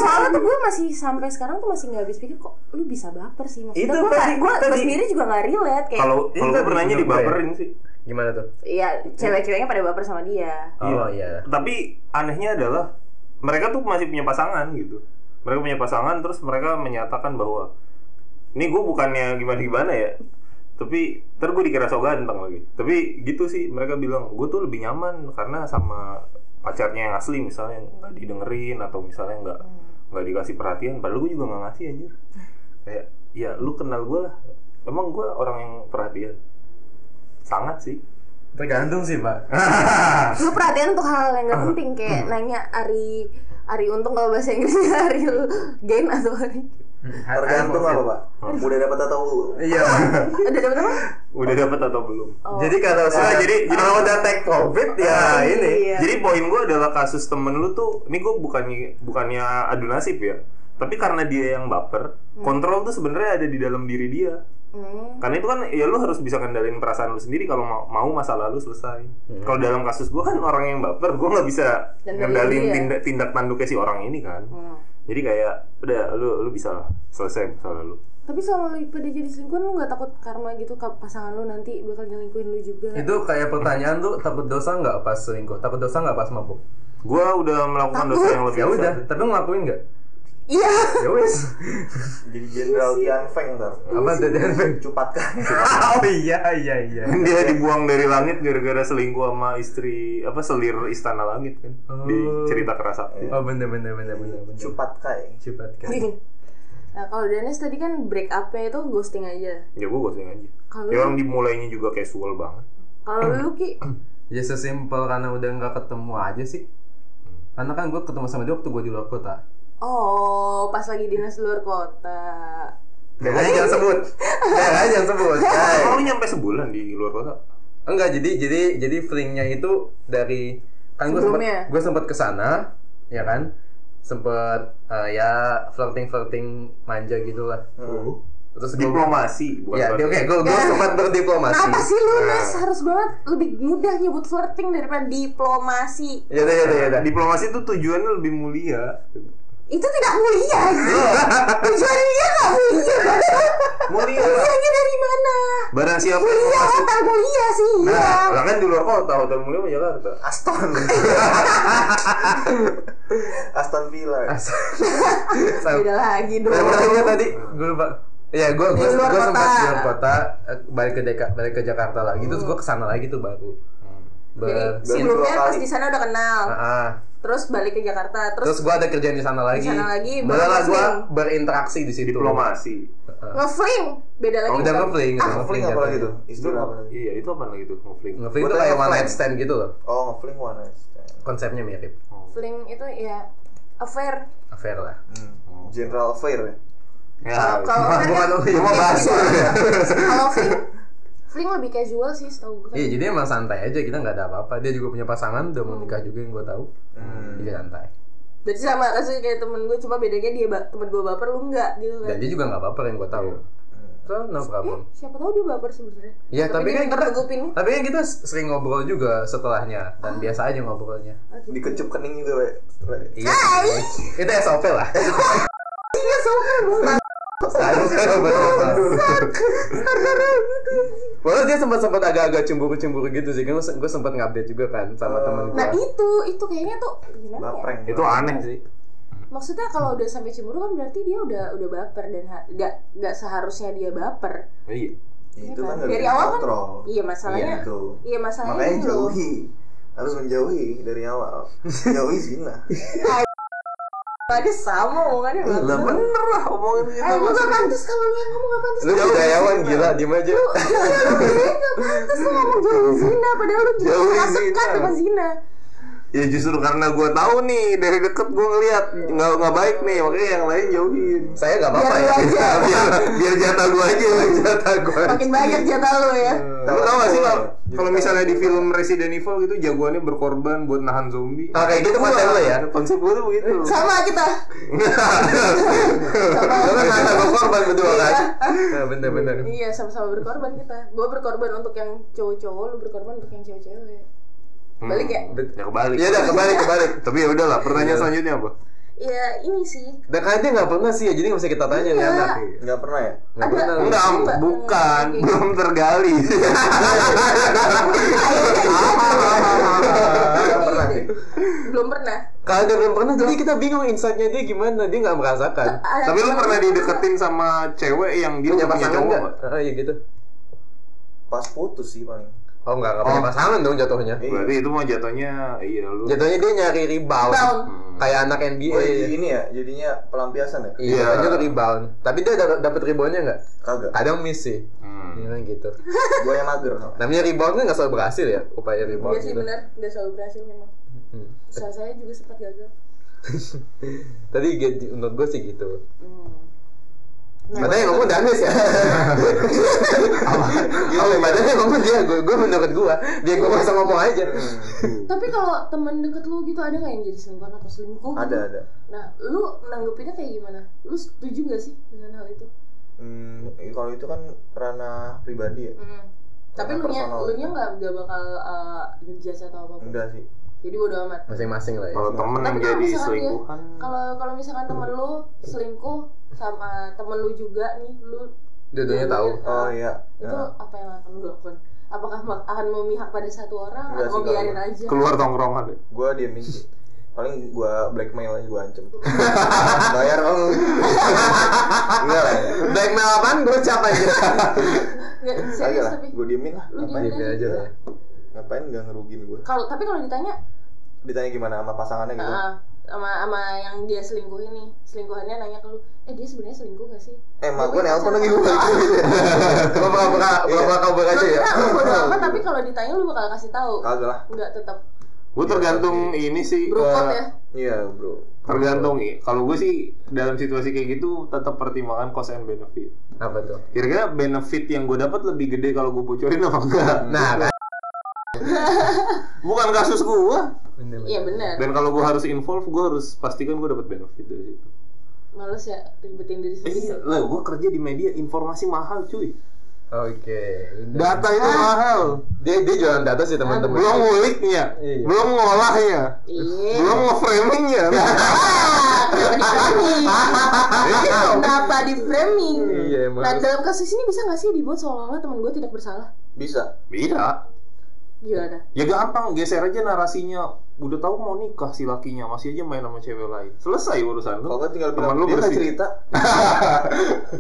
S2: soalnya tuh gue masih sampai sekarang tuh masih nggak habis pikir kok lu bisa baper sih maksudnya
S4: Itu
S2: gue
S4: tadi-
S2: nggak- gue gue
S4: tadi-
S2: sendiri juga nggak relate kayak
S1: Kalau
S4: Ini
S1: kalau
S4: tadi
S1: gue pernahnya
S4: bener gue ya.
S1: dibaperin sih.
S4: Gimana tuh?
S2: Iya, cewek-ceweknya pada baper sama dia.
S4: Oh iya.
S1: Tapi anehnya adalah mereka tuh masih punya pasangan gitu. Mereka punya pasangan terus mereka menyatakan bahwa ini gue bukannya gimana gimana ya. Tapi ntar gue dikira so ganteng lagi. Tapi gitu sih mereka bilang gue tuh lebih nyaman karena sama pacarnya yang asli misalnya nggak didengerin atau misalnya nggak
S4: Hmm.
S1: nggak dikasih perhatian. Padahal gue juga nggak ngasih anjir. Kayak ya lu kenal gue lah. Emang gue orang yang perhatian. Sangat sih.
S4: Tergantung sih, Pak.
S2: Lu perhatian untuk hal yang gak penting kayak nanya Ari Ari untung kalau bahasa Inggrisnya Ari Gain atau Ari
S5: Tergantung apa, Pak? Udah dapat atau
S4: Iya, Pak.
S2: Udah dapet apa?
S1: Udah dapet atau belum?
S2: Oh.
S4: Jadi kalau saya jadi kalau udah take covid ya ini.
S2: Iya.
S1: Jadi poin gue adalah kasus temen lu tuh, ini gue bukannya bukannya adu nasib ya, tapi karena dia yang baper, kontrol tuh sebenarnya ada di dalam diri dia.
S2: Hmm.
S1: Karena itu kan ya lu harus bisa kendalin perasaan lu sendiri kalau mau, mau masalah lu selesai.
S4: Hmm.
S1: Kalau dalam kasus gue kan orang yang baper, gue nggak bisa
S2: Dan
S1: kendalin
S2: dari dia.
S1: tindak tindak tanduknya si orang ini kan.
S2: Hmm.
S1: Jadi kayak udah lu lu bisa lah selesai masalah lu.
S2: Tapi selama lu pada jadi selingkuhan lu gak takut karma gitu ke pasangan lu nanti bakal nyelingkuhin lu juga
S4: Itu kayak pertanyaan tuh takut dosa nggak pas selingkuh? Takut dosa nggak pas mabuk?
S1: Gue udah melakukan dosa yang lebih
S4: Ya
S1: besar.
S4: udah, tapi ngelakuin nggak?
S2: Iya
S4: Ya wes.
S5: jadi Jenderal Tian Feng ntar.
S4: Apa tadi?
S5: Cupatkan.
S4: Iya. Oh iya iya iya.
S1: dia dibuang dari langit gara-gara selingkuh sama istri apa selir istana langit kan
S4: Oh.
S1: di cerita kerasa
S4: Oh bener bener bener bener bener.
S5: Cupatkai.
S4: Cepat kan.
S2: Nah kalau Danes tadi kan break up-nya itu ghosting aja
S1: ya gue ghosting aja
S2: Kalau
S1: ya orang dimulainya juga casual banget
S2: Kalau lu Ki
S4: Ya sesimpel karena udah nggak ketemu aja sih. Karena kan gue ketemu sama dia waktu gue di luar kota.
S2: Oh pas lagi dinas luar kota
S4: Daerahnya jangan sebut. Daerahnya jangan sebut. Hai.
S1: Emang lu nyampe sebulan di luar kota
S4: Enggak, jadi jadi jadi flingnya itu dari kan gue sempat
S2: Sebelumnya.
S4: gue sempat kesana, ya kan, sempat eh, ya flirting flirting manja gitu lah. Terus gue
S1: diplomasi bukan
S4: ya,
S1: flirting.
S4: oke, gue gue sempat berdiplomasi.
S2: Kenapa sih lu Nes harus banget lebih mudah nyebut flirting daripada diplomasi?
S4: Ya udah ya udah ya udah.
S1: diplomasi itu tujuannya lebih mulia
S2: Itu tidak mulia. anjing. Tujuannya dia nggak mulia.
S1: mulia lah.
S2: Tujuannya dari mana?
S1: barang siapa yang
S2: Mulia
S1: masuk
S2: hotel mulia sih. Iya.
S1: nah lah kan di luar kota hotel mulia sama Jakarta
S5: Aston. Aston Villa.
S4: Sam-
S2: Beda lagi dong.
S4: Nah, berarti gua tadi gue lupa. Iya, gue gue
S2: Di luar
S4: gue sempat
S2: kota.
S4: di luar kota eh, balik ke Deka, balik ke Jakarta lagi. Terus gue kesana lagi tuh baru.
S2: Hmm. Jadi
S4: Ber
S2: sebelumnya
S5: dua kali.
S2: pas di sana udah kenal,
S4: Ah, ah.
S2: terus balik ke Jakarta,
S4: Terus
S2: terus,
S4: gue ada kerjaan di sana lagi.
S2: sana lagi,
S4: Boleh lah gue
S2: berhosting.
S4: berinteraksi di situ.
S1: diplomasi
S2: ngefling. Beda lagi. Ah,
S4: Oh, udah ngefling. udah
S5: Ah, Ngefling apa
S2: gitu?
S5: lagi tuh?
S1: itu
S5: Istilah apa lagi?
S1: iya itu apa lagi tuh ngefling
S4: Ngefling
S5: Gua
S4: tuh
S5: tuh
S4: kayak one
S5: ngefling.
S4: night stand gitu loh.
S5: Oh, ngefling one night stand.
S4: Konsepnya mirip.
S2: Ngefling itu ya affair.
S4: Affair lah.
S5: Hmm.
S2: Oh.
S5: General Fair ya?
S1: ya,
S2: Kalau
S5: Ah,
S2: kan- Iya,
S4: Wah, bukan lu cuma bahas.
S2: kalau fling, fling lebih casual sih, setahu gue.
S4: Iya, jadi emang santai aja kita nggak ada apa-apa. Dia juga punya pasangan, udah mau nikah juga yang gue tahu.
S5: Hmm.
S4: Jadi santai.
S2: Berarti sama kasusnya kayak temen gue, cuma bedanya dia ba- temen gue baper, lu enggak gitu kan.
S4: Dan dia juga nggak apa-apa yang gue tahu.
S5: Hmm.
S4: So, no problem.
S2: Siapa tahu dia baper sebenarnya.
S4: Ya, tapi,
S2: dia
S4: kan kita
S2: tergupin.
S4: tapi kan kita sering ngobrol juga setelahnya
S5: Ah.
S4: dan biasa aja ngobrolnya.
S5: Dikecup kening juga, we.
S4: Iya. Itu SOP lah. Seharusnya ngobrol. Walau dia sempat sempat agak-agak cemburu-cemburu gitu sih, kan gue sempat ngupdate juga kan sama temen
S2: Nah,
S4: gue.
S2: itu itu kayaknya tuh gimana ya?
S5: Bapreng.
S1: itu aneh sih
S2: Maksudnya kalau udah sampai cemburu kan berarti dia udah udah baper dan ha- nggak nggak seharusnya dia baper.
S1: iya
S5: Itu
S2: Iya kan?
S5: kan nggak
S2: Dari
S5: bisa
S2: awal kan-
S5: kontrol.
S2: Iya, masalahnya.
S5: Gitu.
S2: Iya, masalahnya
S5: Makanya
S2: itu.
S5: jauhi. Harus menjauhi dari awal. Jauhi nah. zina.
S2: Tadi sama omongannya
S5: Lah
S2: baper.
S5: bener lah omongannya.
S2: Eh, lu gak pantas kalau lu yang ngomong gak pantas.
S4: Lu
S5: ya,
S4: budayawan gila, diem aja.
S2: Lu gak pantas lu ngomong jauh zina padahal lu juga
S5: Jauhin
S2: suka
S5: zina.
S2: sama zina.
S5: ya justru karena gue tahu nih dari deket gue ngeliat nggak nggak baik nih makanya yang lain jauhin
S4: Saya nggak apa-apa
S2: Biar
S4: ya.
S2: lu aja.
S5: biar biar jatah gue aja biar Iya. jatah gue
S2: Makin banyak jatah lu ya.
S5: Lu tau gak sih Bang? Kalau misalnya di film Resident Evil gitu jagoannya berkorban buat nahan zombie.
S4: Ah, kayak gitu konsep lu ya?
S5: Konsep gue tuh gitu. begitu.
S2: Sama kita.
S5: Lu kan nahan sama korban berdua kan?
S4: Nah, bener-bener.
S2: Iya, sama-sama berkorban kita. Gue berkorban untuk yang cowok-cowok, lu berkorban untuk yang cewek-cewek.
S5: Hmm.
S2: Balik ya?
S1: Ya kebalik.
S5: Ya udah kebalik kebalik. Tapi ya udahlah. Pertanyaan selanjutnya apa?
S2: Ya ini sih.
S4: Dan kayaknya dia nggak pernah sih ya, jadi nggak bisa kita tanya nih anak.
S5: Enggak pernah ya?
S4: Nggak
S2: Ada-
S4: pernah.
S5: Enggak, am-
S2: Enggak.
S5: bukan,
S2: Oke.
S5: belum tergali.
S2: Iya,
S5: Ah,
S4: Nggak pernah nih.
S2: Belum pernah.
S4: Kalau dia belum pernah, jadi kita bingung insightnya dia gimana, dia nggak merasakan.
S2: Ada
S5: Tapi lu
S2: temen-
S5: pernah dideketin sama cewek yang dia
S4: Punya
S5: udah punya
S4: pasangan
S5: cowok
S4: nggak?
S5: nggak?
S4: Ah, iya gitu.
S5: Pas putus sih paling.
S4: Oh nggak, nggak punya
S5: Oh.
S4: pasangan dong jatuhnya.
S5: Berarti
S1: Berarti itu mah jatuhnya iya lu.
S4: Jatuhnya dia nyari rebound.
S2: Rebound.
S5: Hmm,
S2: Oh, iya.
S4: Kayak anak NBA.
S5: ini ya, jadinya pelampiasan ya?
S4: Iya, jatuhnya tuh Iya, rebound. Tapi dia dapet, dapet reboundnya nggak?
S5: Kagak.
S4: Kadang miss sih.
S1: Hmm.
S4: Iya kan gitu.
S5: Gue yang mager.
S4: Namanya rebound kan nggak selalu berhasil ya, upaya rebound
S2: Iya sih
S4: gitu.
S2: benar, nggak selalu berhasil memang.
S4: Hmm.
S2: Usaha saya juga sempat gagal.
S4: Tadi ge- menurut gue sih gitu.
S2: Hmm. Nah,
S4: Padahal yang ngomong Danes ya. Oh, padahal yang ngomong dia, gue gue menurut gue, dia gue masa ngomong aja.
S5: Hmm,
S2: Tapi kalau teman deket lu gitu ada nggak yang jadi selingkuhan atau selingkuh? gitu?
S5: Ada, ada.
S2: Nah, lu nanggepinnya kayak gimana? Lu setuju gak sih dengan hal itu?
S5: Hmm, kalau itu kan ranah pribadi ya?
S2: Hmm. Tapi
S5: Karena
S2: lu nya,
S5: personal. Hmm.
S2: lu nya nggak nggak bakal uh, ngejudge atau apa?
S5: Enggak sih.
S2: Jadi bodo amat.
S4: Masing-masing
S1: Nah,
S4: lah ya.
S1: Kalau temen yang
S2: Tapi kalau
S1: jadi
S2: misalkan dia,
S1: selingkuhan.
S2: kalau kalau misalkan temen lu selingkuh sama temen lu juga nih, lu
S4: Dua-duanya tahu.
S5: Oh iya.
S2: itu
S5: Nah,
S2: apa yang akan lu lakukan? Apakah mak- akan memihak pada satu orang
S5: Enggak
S2: atau
S5: sih,
S2: biarin
S5: kalau-
S2: aja?
S1: Keluar tongkrongan ya.
S5: gue diemin sih. Paling gue blackmail aja gue ancam. Bayar om.
S2: Iya.
S5: Enggak lah. ya.
S4: Blackmail apaan? Gue capek aja.
S2: Nggak,
S5: Kagak
S2: serius
S5: lah.
S2: tapi
S5: Gue diemin lah.
S2: Lu
S5: Ngapain?
S2: diemin
S4: aja lah.
S5: Ngapain gak ngerugin gue?
S2: kalau tapi kalau ditanya
S5: Ditanya gimana sama pasangannya gitu?
S2: ah, sama sama yang dia selingkuhin nih, selingkuhannya nanya ke lu, "Eh, dia sebenarnya selingkuh gak sih?"
S5: Eh, mak gue nelpon lagi gue balik dulu ya.
S4: Gue pura-pura pura-pura kabar aja ya.
S2: Nah, lu bodo amat tapi kalau ditanya lu bakal kasih tahu.
S5: Kagak lah.
S2: Enggak tetap
S1: Gue tergantung ini sih.
S2: brokot
S1: eh,
S2: ya.
S5: Iya, bro.
S1: Tergantung. Kalau gue sih dalam situasi kayak gitu tetap pertimbangan cost and benefit.
S4: Apa tuh?
S1: Kira-kira benefit yang gue dapat lebih gede kalau gue bocorin apa enggak?
S4: Nah, kan.
S1: Bukan kasus gue.
S2: Iya benar.
S1: Dan kalau gue harus involve, gue harus pastikan gue dapat benefit dari situ.
S2: Males ya ribetin diri sendiri.
S1: Iya, lah gue kerja di media, informasi mahal cuy.
S4: Oke.
S1: Data itu mahal.
S4: Dia dia jualan data sih teman-teman.
S1: Belum nguliknya,
S4: Iya.
S1: belum ngolahnya,
S2: Iya.
S1: belum ngeframingnya. Nah,
S2: Kenapa di framing?
S4: Iya, emang.
S2: Nah, dalam kasus ini bisa nggak sih dibuat seolah-olah teman gue tidak bersalah?
S5: Bisa.
S1: Bisa.
S2: Gimana?
S1: Ya gampang, geser aja narasinya. Udah tahu mau nikah si lakinya, masih aja main sama cewek lain. Selesai urusan lu.
S5: Kalau nggak tinggal
S1: Temen
S5: bilang,
S1: lu
S5: dia nggak
S1: bersih.
S5: cerita.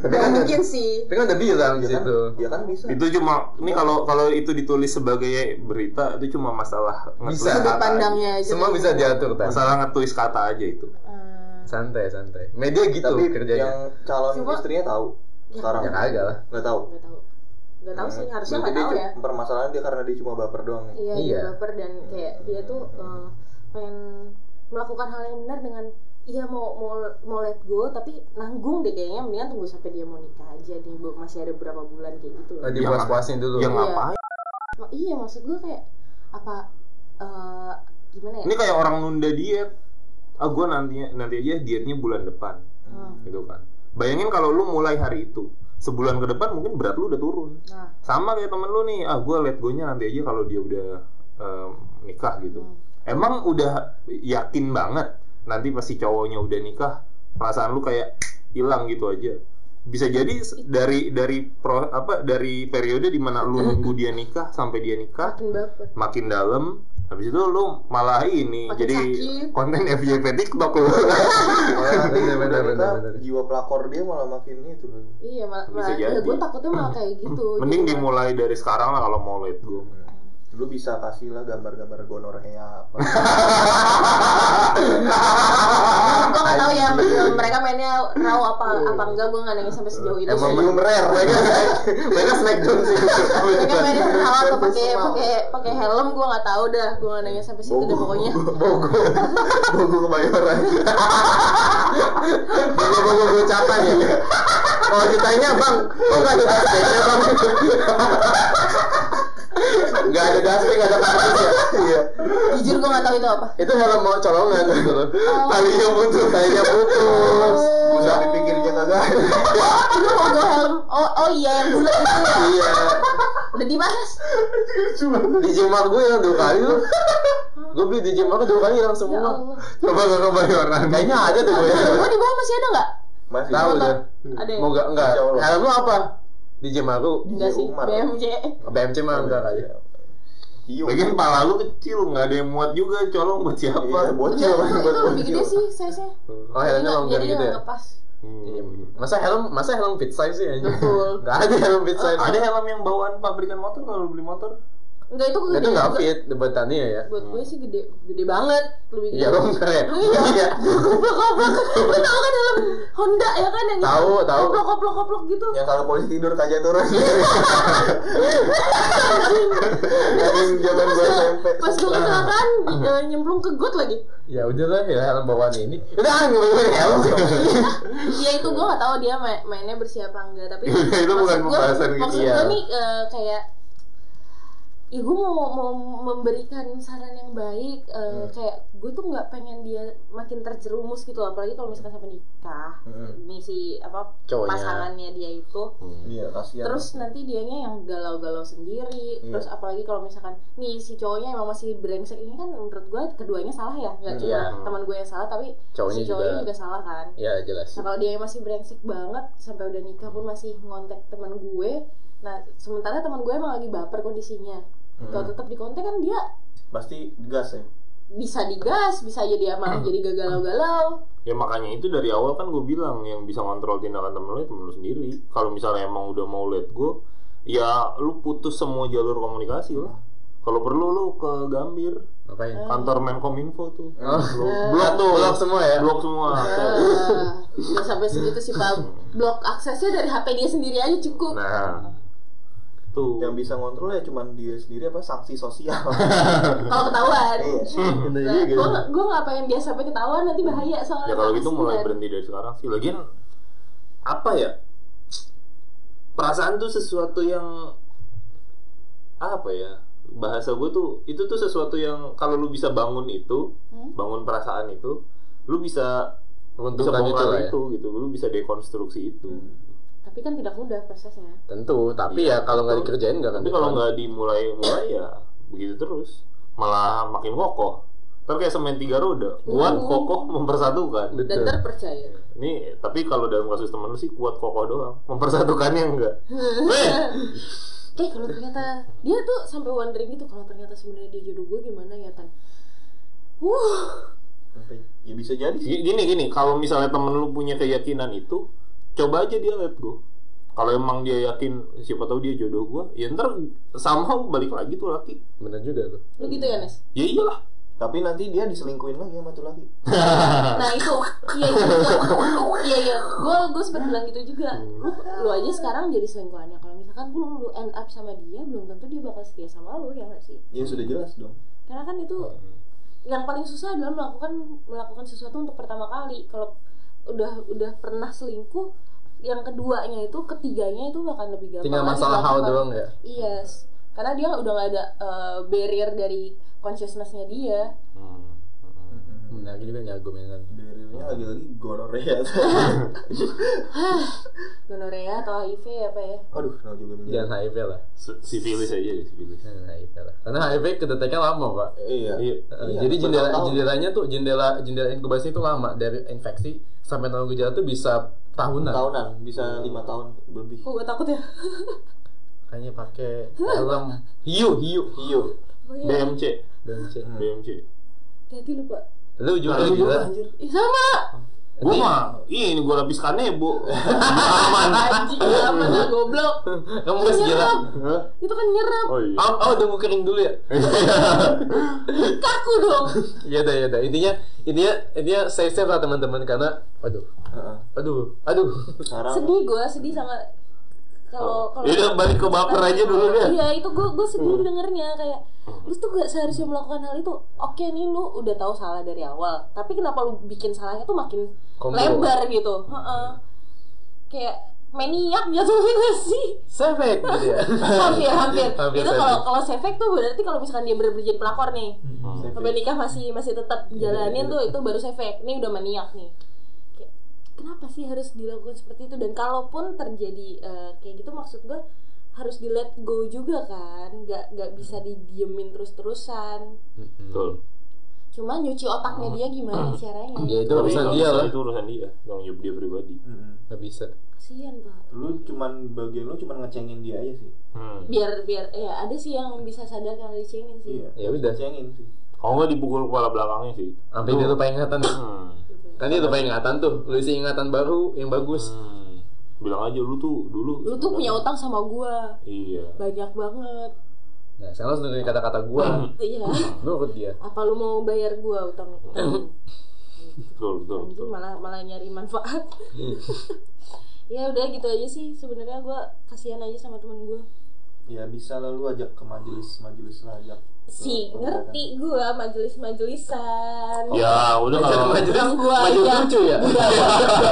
S4: Tapi
S2: Gak
S4: kan
S2: mungkin sih.
S4: tapi kan udah bilang di
S5: Ya kan?
S4: situ.
S5: Ya kan bisa.
S1: Itu cuma ini kalau kalau itu ditulis sebagai berita itu cuma masalah ngetulis
S4: Bisa.
S1: kata
S2: Sudut
S1: aja.
S2: pandangnya aja.
S4: Semua bisa diatur tas.
S1: Masalah ngetulis kata aja itu.
S2: Eh,
S4: Iya. Santai santai. Media gitu
S5: Tapi
S4: kerjanya.
S5: yang calon
S2: Cuma-
S5: istrinya tahu sekarang.
S4: Ya kagak lah.
S5: Nggak tahu.
S2: Nggak tahu. Nggak tahu sih,
S5: Hmm.
S2: harusnya
S5: Berarti
S2: nggak
S5: dia
S2: tahu ya.
S5: cu- Permasalahan dia karena dia cuma baper doang. ya. nih.
S2: Iya,
S4: Iya.
S2: dia baper dan kayak dia tuh eh, pengen melakukan hal yang benar dengan iya mau mau mau let go tapi nanggung deh kayaknya mendingan tunggu sampai dia mau nikah aja nih Bu. masih ada berapa bulan kayak gitu loh.
S4: Tadi puas-puasin Oh, dulu.
S1: Ya
S2: Iya.
S1: ngapain?
S2: Ma- iya maksud gue kayak apa eh, gimana ya?
S1: Ini kayak orang nunda diet. Ah gue nantinya nanti aja dietnya bulan depan.
S2: Hmm.
S1: gitu kan bayangin kalau lu mulai hari itu sebulan ke depan mungkin berat lu udah turun
S2: Nah.
S1: sama kayak temen lu nih ah gue let go nya nanti aja kalau dia udah em, nikah gitu
S2: hmm,
S1: emang udah yakin banget nanti pasti cowoknya udah nikah perasaan lu kayak hilang gitu aja bisa jadi s- dari dari pro, apa dari periode dimana lu nunggu dia nikah sampai dia nikah
S2: Makin baper.
S1: makin dalam habis itu lu malah ini
S2: Makin
S1: jadi
S2: sakit.
S1: konten FJP TikTok lu
S5: Malah nanti
S4: Bener, bener,
S5: udah
S4: bener,
S5: nikah,
S4: bener.
S5: jiwa pelakor dia malah makin itu loh.
S2: Iya, mal-
S1: Bisa
S2: malah,
S1: jadi. Hmm.
S2: gue takutnya malah kayak gitu.
S1: Mending
S2: Jadi,
S1: dimulai dari sekarang lah kalau mau let go.
S5: lu bisa kasih lah gambar-gambar gonorrhea apa
S2: gue nggak tahu ya mereka mainnya raw apa apa enggak gue nggak nanya sampai sejauh itu
S4: Emang medium rare mereka mereka smackdown sih.
S2: mereka mainnya raw apa pakai pakai pakai helm gue nggak tahu dah gue nggak nanya sampai situ deh pokoknya
S4: Bogo Bogo kebayoran Bogo Bogo gocapan ya Kalau ditanya bang Kok gak ada daspeknya bang Gak ada daspek gak ada kartis ya Iya
S2: jujur gue nggak tahu itu apa
S4: Itu helm mau colongan gitu loh Talinya putus Talinya putus
S5: usah dipikirnya kagak
S2: itu mau gue helm oh oh iya yang bulat itu ya
S4: Iya
S2: udah dibahas
S4: Di jimat gue yang dua kali loh Gue beli di jimat dua kali hilang
S2: ya
S4: semua
S2: Allah
S4: Coba gak kebayoran Kayaknya ada tuh gue
S2: gue di bawah masih ada nggak
S5: masih
S4: Tahu
S2: Apa?
S4: deh
S2: ada ya?
S4: Mau gak, enggak.
S5: Insya Allah.
S4: Helm lu apa? Di gym aku.
S2: enggak sih
S5: Umar.
S2: BMJ
S4: BMC mah enggak kali.
S5: hiu
S4: Lagian pala lu kecil, enggak ada yang muat juga, colong buat siapa?
S5: Iya, bocil
S2: Enggak, itu
S5: buat
S2: lebih
S5: bocil
S2: gede sih size nya
S4: Oh, helmnya longgar
S2: jadi
S4: gitu
S2: nggak
S4: ya.
S2: ngepas
S4: Hmm. Masa helm, masa helm fit size sih anjing?
S2: Betul.
S4: Enggak ada helm fit size.
S1: Ada helm yang bawaan pabrikan motor kalau beli motor.
S2: enggak itu gue
S4: Itu
S2: gede
S4: enggak
S2: juga.
S4: fit buat Tania ya.
S2: buat gue sih gede gede banget lebih gede
S4: Iya longgar ya.
S2: Iya. Goblok-goblok. Lu tau kan dalam Honda ya kan yang
S4: Tahu, tahu.
S2: Goblok-goblok gitu.
S5: yang kalau polisi tidur kagak turun
S4: Iya.
S5: yang zaman gua SMP
S2: Pas gue
S4: Nah.
S2: kecelakaan eh, nyemplung ke got lagi.
S4: Ya udahlah ya helm bawaan ini. Udah ngomongin helm sih.
S2: Iya itu gue gak tahu dia main- mainnya bersih apa enggak tapi
S4: Itu bukan
S2: maksud gua-
S4: pembahasan gitu,
S2: Maksud
S4: iya.
S2: gue nih eh, kayak Ya gue mau, mau memberikan saran yang baik eh,
S4: Hmm.
S2: Kayak gue tuh gak pengen dia makin terjerumus gitu Apalagi kalau misalkan sampai nikah Ini si apa
S4: Hmm. Cowoknya.
S2: pasangannya dia itu
S5: iya kasihan
S2: terus nanti dianya yang galau-galau sendiri
S5: Iya.
S2: terus apalagi kalau misalkan nih si cowoknya emang masih brengsek ini kan menurut gue keduanya salah ya nggak cuma
S4: Iya.
S2: teman gue yang salah tapi
S4: Cowoknya
S2: si cowoknya
S4: juga.
S2: juga. salah kan
S4: Ya jelas.
S2: nah kalau dia yang masih brengsek banget sampai udah nikah pun masih ngontek teman gue nah sementara teman gue emang lagi baper kondisinya
S4: Hmm.
S5: Hmm.
S2: kalau tetap dikontek kan dia
S5: pasti gas ya
S2: bisa digas bisa aja dia malah jadi gak galau-galau
S1: Ya makanya itu dari awal kan gue bilang yang bisa ngontrol tindakan temen lu ya temen lu sendiri. Kalau misalnya emang udah mau let go, ya lu putus semua jalur komunikasi lah. Kalau perlu lu ke Gambir,
S4: Ngapain?
S1: kantor Menkominfo tuh.
S4: Oh,
S1: Lu
S2: Nah,
S4: blok tuh, blok semua ya.
S1: blok semua.
S2: Ah, nggak sampai segitu sih pak blok aksesnya dari HP dia sendiri aja cukup
S1: Nah. Tuh.
S5: yang bisa ngontrol ya cuman dia sendiri apa sanksi sosial
S2: kalau ketahuan
S1: Hmm.
S4: Bener juga.
S2: gue gue nggak pengen dia sampai ketahuan nanti bahaya
S1: Iya, gitu.
S2: soalnya
S1: ya kalau gitu
S2: kasihan.
S1: mulai berhenti dari sekarang sih lagian apa ya perasaan tuh sesuatu yang apa ya bahasa gue tuh itu tuh sesuatu yang kalau lu bisa bangun itu
S2: Hmm?
S1: bangun perasaan itu lu bisa bisa
S4: Menguntungkan itu
S1: bongkar
S4: lah
S1: itu,
S4: ya. Hmm.
S1: gitu lu bisa dekonstruksi itu
S2: tapi kan tidak mudah prosesnya
S4: Tentu, tapi ya kalau nggak dikerjain nggak akan.
S1: tapi kalau nggak dimulai mulai ya begitu terus malah makin kokoh Ntar kayak semen tiga roda kuat
S2: Uh.
S1: kokoh mempersatukan
S2: dan
S4: betul.
S2: terpercaya
S1: Ini tapi kalau dalam kasus temen lu sih kuat kokoh doang, mempersatukannya enggak. Weh,
S2: eh kalau ternyata dia tuh sampai wondering gitu kalau ternyata sebenarnya dia jodoh gue gimana ya tan Wuh,
S5: ya bisa jadi
S1: G-
S5: sih
S1: gini gini, kalau misalnya temen lu punya keyakinan itu, coba aja dia let go. Kalau emang dia yakin siapa tahu dia jodoh gua, ya ntar sama balik lagi tuh laki.
S4: Bener juga tuh.
S2: lu gitu ya Nes?
S1: Ya iyalah.
S5: tapi nanti dia diselingkuin lagi sama tuh lagi
S1: Ah.
S2: Nah itu, iya iya, iya. iya iya. Gue gue
S1: Hmm.
S2: sempat bilang gitu juga. Lu, lu aja sekarang jadi selingkuhannya. Kalau misalkan pun lu end up sama dia, belum tentu dia bakal setia sama lu ya nggak sih?
S5: ya sudah jelas dong
S2: Karena kan itu yang paling susah adalah melakukan melakukan sesuatu untuk pertama kali kalau udah udah pernah selingkuh yang keduanya itu ketiganya itu bahkan lebih gampang
S4: Tinggal
S2: lagi
S4: masalah how
S2: dilakukan.
S4: doang ya.
S2: yes karena dia udah nggak ada eh, barrier dari consciousnessnya dia
S1: Hmm.
S4: Nah, gitu kan ya argumennya.
S5: Barriernya lagi-lagi gonorrhea
S2: gonorrhea atau HIV ya apa ya
S5: aduh kenapa juga Iya. menjadi
S4: Jangan HIV lah.
S1: Si- Sifilis aja ya, deh, sifilis.
S4: Jangan HIV lah. Karena HIV kedetekannya lama, Pak.
S5: iya
S1: Iya.
S4: Eh,
S5: Iya,
S4: Jadi jendela
S5: bertahun-tahun.
S4: jendelanya tuh jendela jendela inkubasi itu lama dari infeksi sampai tahun gejala tuh bisa tahunan.
S5: tahunan bisa lima tahun lebih
S2: kok gue takut ya
S4: Makanya pakai helm hiu hiu
S5: hiu
S2: Oh iya,
S1: BMC,
S4: dan c-
S1: BMC.
S2: hati lupa
S4: Lu juga
S1: Nah, lu
S4: gitu kan? gila.
S1: anjir.
S2: Ih sama
S1: Gue mah, ini gue lapis kanebo.
S2: Anjing, apa tuh goblok?
S4: Kamu gak segila.
S2: Itu kan nyerap.
S1: Oh iya.
S4: Oh, oh, udah mau kering dulu ya?
S2: Kaku dong.
S4: ya udah, ya udah. Intinya, intinya, intinya safe safe lah teman-teman karena, aduh,
S5: Heeh.
S4: aduh, aduh.
S5: Sekarang
S2: Sedih gue, sedih sama kalau kalau
S4: Yaudah, Oh. Iya, balik ke baper aja dulu deh. Hmm.
S2: Iya, itu gue gue sedih dengernya kayak lu tuh gak seharusnya melakukan hal itu. Oke nih lu udah tahu salah dari awal, tapi kenapa lu bikin salahnya tuh makin
S4: Kompor.
S2: lebar gitu? Heeh. Kayak maniak jatuhnya gak sih?
S4: Sefek gitu ya.
S2: hampir, hampir.
S4: Hampir
S2: itu
S4: safe.
S2: kalau kalau sefek tuh berarti kalau misalkan dia bener-bener jadi pelakor nih, sampai nikah masih masih tetap jalanin tuh itu baru sefek. Ini udah maniak nih. Kayak, Kenapa sih harus dilakukan seperti itu? Dan kalaupun terjadi eh, kayak gitu maksud gue harus di let go juga kan, nggak nggak bisa didiemin terus-terusan.
S1: Betul.
S2: Cuma nyuci otaknya dia gimana caranya?
S4: Ya itu
S1: Tapi
S4: urusan
S1: nggak
S4: dia
S1: bisa,
S4: lah.
S1: Itu urusan dia, tanggung jawab dia pribadi.
S4: Gak bisa.
S2: Kasian pak.
S5: lu cuman bagian lu cuman ngecengin dia aja sih.
S1: Hmm.
S2: Biar biar ya ada sih yang bisa sadar karena dicengin sih.
S5: Iya.
S4: Ya udah.
S5: Ngecengin sih.
S1: Kalau nggak dipukul kepala belakangnya sih.
S4: Sampai dia lupa ingatan.
S1: Hmm.
S4: Kan dia lupa ingatan tuh. Lu isi ingatan baru yang bagus.
S1: Hmm. Bilang aja lu tuh dulu.
S2: Lu tuh punya utang sama gua
S1: Iya.
S2: banyak banget.
S4: Nah, sekarang harus dengerin kata-kata gua.
S2: Iya.
S4: Nurut dia.
S2: apa lu mau bayar gua utang utang
S1: Betul, betul,
S2: anjing
S1: betul.
S2: malah malah nyari manfaat ya udah gitu aja sih sebenarnya gua kasihan aja sama temen gua
S5: Ya bisa lah lu ajak ke majelis majelis lah ajak.
S2: si
S4: Oh,
S2: ngerti gua majelis majelisan
S1: Ya, udah kalau Iya.
S4: Majelis
S2: orang gua
S4: Oh, iya. majelis
S2: aja
S4: lucu ya?
S2: budaya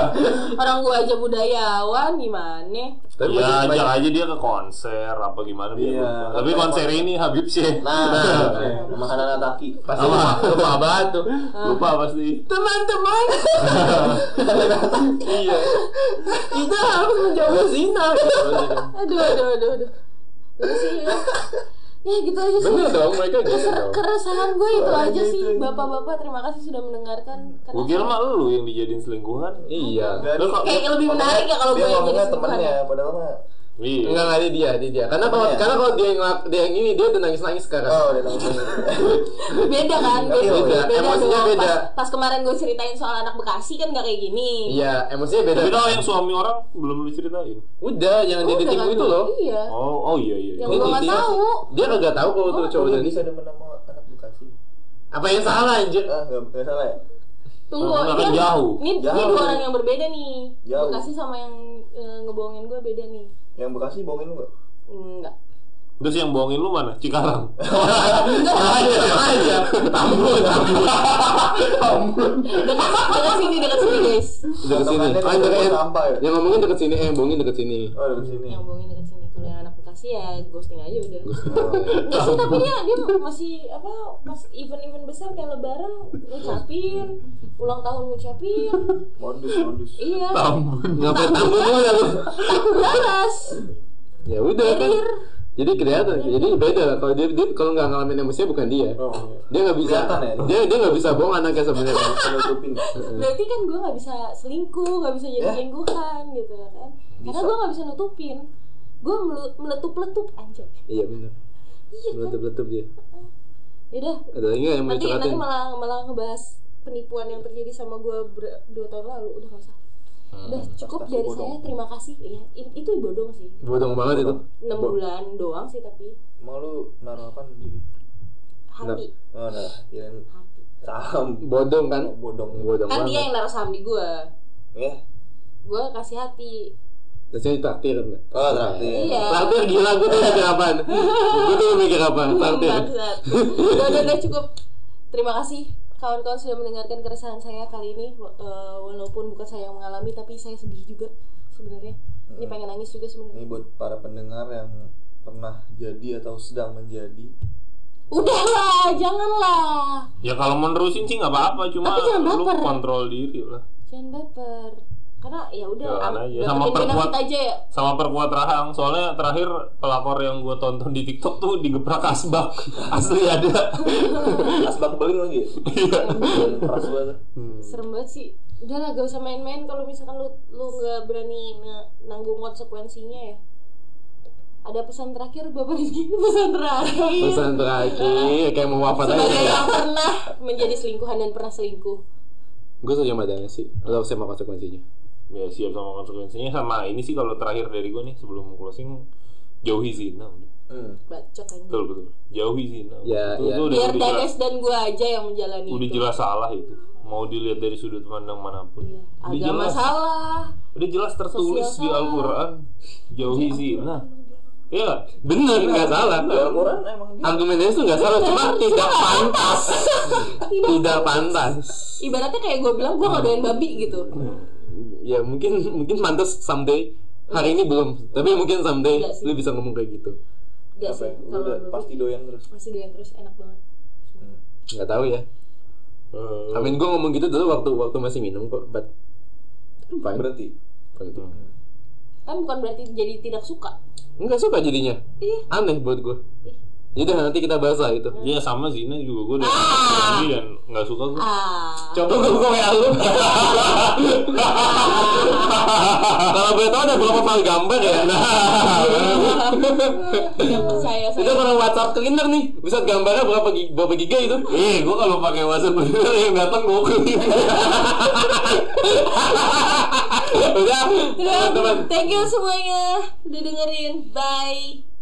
S2: orang gua aja budayawan gimana
S4: Tapi
S1: ya
S4: majelis
S1: ajak
S4: banyak-
S1: aja dia ke konser apa gimana biar
S5: Iya.
S1: lupa. Tapi konser ini ya. Habib sih.
S5: Nah, makanan ataki.
S4: pasti lupa, lupa banget tuh.
S1: lupa pasti.
S2: teman-teman
S4: iya. Kita harus menjaga zina. iya.
S2: aduh aduh aduh aduh udah sih ya. ya gitu aja sih
S4: Bener dong mereka gitu
S2: Keser-
S4: dong.
S2: keresahan gue itu aja sih bapak-bapak terima kasih sudah mendengarkan karena
S1: Gue kira mah lu yang dijadiin selingkuhan.
S4: Iya.
S1: Lu kok
S2: kayak lebih menarik ya kalau gue
S5: Dia
S2: yang jadi
S5: ngomongnya
S2: selingkuhan
S5: temennya, padahal mah
S1: Iya.
S4: Enggak enggak ini dia, ini dia. Karena kalau
S5: Iya.
S4: karena kalau dia yang ngel- dia yang ini dia udah nangis-nangis sekarang.
S5: Oh, udah tahu.
S2: beda kan beda,
S4: beda. Emosinya
S2: dong.
S4: beda.
S2: Pas, pas kemarin gue ceritain soal anak Bekasi kan gak kayak gini
S4: Iya, emosinya beda.
S1: Tapi tau yang suami orang belum lu ceritain.
S4: Udah, jangan
S2: Udah
S4: didetik
S2: kan?
S4: itu loh.
S2: iya
S1: Oh, oh iya iya.
S2: yang
S4: Ini
S2: gue gak
S4: dia-
S2: tahu Oh.
S4: Dia kagak tahu kalau tuh cowok
S5: Lu
S4: dan
S5: bisa demen sama anak Bekasi.
S4: apa yang salah anjir.
S2: Oh.
S5: Ah, enggak enggak salah ya?
S2: tunggu
S1: Nah,
S2: ini,
S1: kan jauh.
S2: ini, ini
S5: Jauh.
S2: dua orang yang berbeda nih
S5: Jauh.
S2: Bekasi sama yang eh, ngebohongin gue beda nih
S5: Yang Bekasi bohongin lu enggak?
S2: enggak
S1: Terus yang bohongin lu mana? Cikarang.
S4: Sama aja, sama aja. Tambun, tambun. Tambun.
S2: dekat dekat sini dekat sini guys
S4: Dekat sini.
S5: Potongannya
S4: Ah, dekat-
S5: tuh sampah ya.
S4: Yang ngomongin dekat sini, eh bohongin dekat sini.
S5: Oh, dari sini.
S2: yang bohongin dekat sini kalau yang anak Bekasi ya ghosting aja udah Enggak sih tapi dia dia masih apa pas event-event besar kayak lebaran ngucapin ulang tahun ngucapin
S5: Modus, modus.
S2: iya
S4: Ngapain tambun lu ya lu?
S2: balas
S4: Ya udah kan.
S2: Iya.
S4: Jadi kelihatan, jadi beda. Kalau dia, dia kalau nggak ngalamin emosinya bukan dia.
S5: Oh, iya.
S4: Dia nggak bisa,
S5: Kelihatan ya, dia?
S4: dia dia nggak bisa bohong anaknya sebenarnya.
S5: Nutupin.
S2: berarti kan gue nggak bisa selingkuh nggak bisa jadi selingkuhan gitu ya kan karena gue nggak Eh. bisa nutupin gue meletup-letup anjir
S4: Iya benar.
S2: iya kan
S4: Meletup-letup dia.
S2: yaudah
S4: Ada lagi nggak yang mau
S2: nanti nanti
S4: dicuratin?
S2: malah malah ngebahas penipuan yang terjadi sama gue dua tahun lalu udah nggak usah udah cukup dari saya terima kasih iya i- itu bodong sih
S4: Bodong banget itu.
S2: enam bulan doang sih tapi
S5: Emang lu naruh apa di?
S2: hati
S5: Oh, nah, kirain
S2: hati
S5: saham
S4: Bodong kan?
S5: bodong.
S4: Bodong
S2: kan dia
S4: banget.
S2: yang naruh saham di gua
S5: Ya.
S2: gua kasih hati
S4: Terus dia traktir kan?
S5: Oh, traktir.
S2: iya
S4: Traktir gila, gue tuh mikir apaan? Gue tuh mikir apaan? Traktir.
S2: Bangsat. udah udah udah cukup terima kasih kawan-kawan sudah mendengarkan keresahan saya kali ini Wa- eh, walaupun bukan saya yang mengalami tapi saya sedih juga sebenarnya
S4: Hmm.
S2: ini pengen nangis juga
S5: Ini
S2: sebenarnya
S5: buat para pendengar yang pernah jadi atau sedang menjadi
S2: udahlah janganlah
S1: Ya kalau mau nerusin sih nggak apa-apa, cuma
S2: Tapi jangan
S1: lu
S2: baper.
S1: kontrol diri lah.
S2: jangan baper karena ya udah
S1: Jangan aja.
S2: am- dapetin
S1: Sama perkuat-
S2: benefit aja ya
S1: Sama perkuat rahang, soalnya terakhir pelakor yang gue tonton di TikTok tuh digeprak asbak. Asli ada.
S5: asbak beling lagi. Iya. Keras banget.
S2: serem banget sih udahlah gak usah main-main kalau misalkan lu lu nggak berani nge- nanggung konsekuensinya ya ada pesan terakhir bapak Rizky pesan terakhir
S4: Pesan
S2: Iya.
S4: terakhir, kayak mau wafat aja.
S2: sebagai yang pernah menjadi selingkuhan dan pernah selingkuh
S4: Gue setuju sama Dana sih. Lo harus sama konsekuensinya.
S1: ya siap sama konsekuensinya sama ini sih kalau terakhir dari gue nih sebelum closing jauhi zina udah.
S6: Hmm.
S2: bacok aja
S1: betul betul jauhi zina
S4: Ya,
S1: itu,
S4: ya.
S1: itu udah,
S2: biar gitu.
S1: udah jelas,
S2: Danes dan gue aja yang menjalani
S1: udah
S2: itu
S1: jelas salah itu mau dilihat dari sudut pandang manapun
S2: Iya.
S1: udah
S2: agama
S1: jelas
S2: salah
S1: udah jelas tertulis di
S2: Sosial salah. Iya.
S1: Al-Quran jauhi zina
S4: Iya,
S1: ya bener nggak salah
S6: Quran emang dia.
S4: Argumennya itu nggak salah, cuma tidak pantas. tidak pantas.
S2: ibaratnya kayak gue bilang
S1: Nah.
S2: gue nggak doain babi gitu
S4: Ya mungkin mungkin pantas someday. Hari ini belum, tapi mungkin someday
S2: Nggak sih.
S4: lu bisa ngomong kayak gitu.
S2: Gak
S6: Apa
S2: sih
S6: ya? Lu
S2: kalau
S6: udah
S2: babi
S6: pasti doyan terus.
S2: masih doain terus enak banget
S4: Nggak tahu ya. I mean gue ngomong gitu dulu waktu waktu masih minum kok, but I'm fine.
S6: Berarti.
S4: Berarti.
S2: kan bukan berarti jadi tidak suka
S4: Enggak suka jadinya.
S2: Ih.
S4: Aneh buat gue. Yaudah nanti kita bahas lah itu.
S1: ya sama zina juga gue udah ah. dan nggak suka gue
S2: ah
S4: Coba gue buka WA lu. Kalau boleh tahu ada berapa file gambar ya?
S2: tidak percaya
S4: itu
S2: saya
S4: kalau WhatsApp cleaner nih, bisa gambarnya berapa gi- berapa giga itu? Eh, gue kalau pakai WhatsApp cleaner yang datang gue Udah,
S2: Terus,
S4: teman-teman.
S2: thank you semuanya udah dengerin bye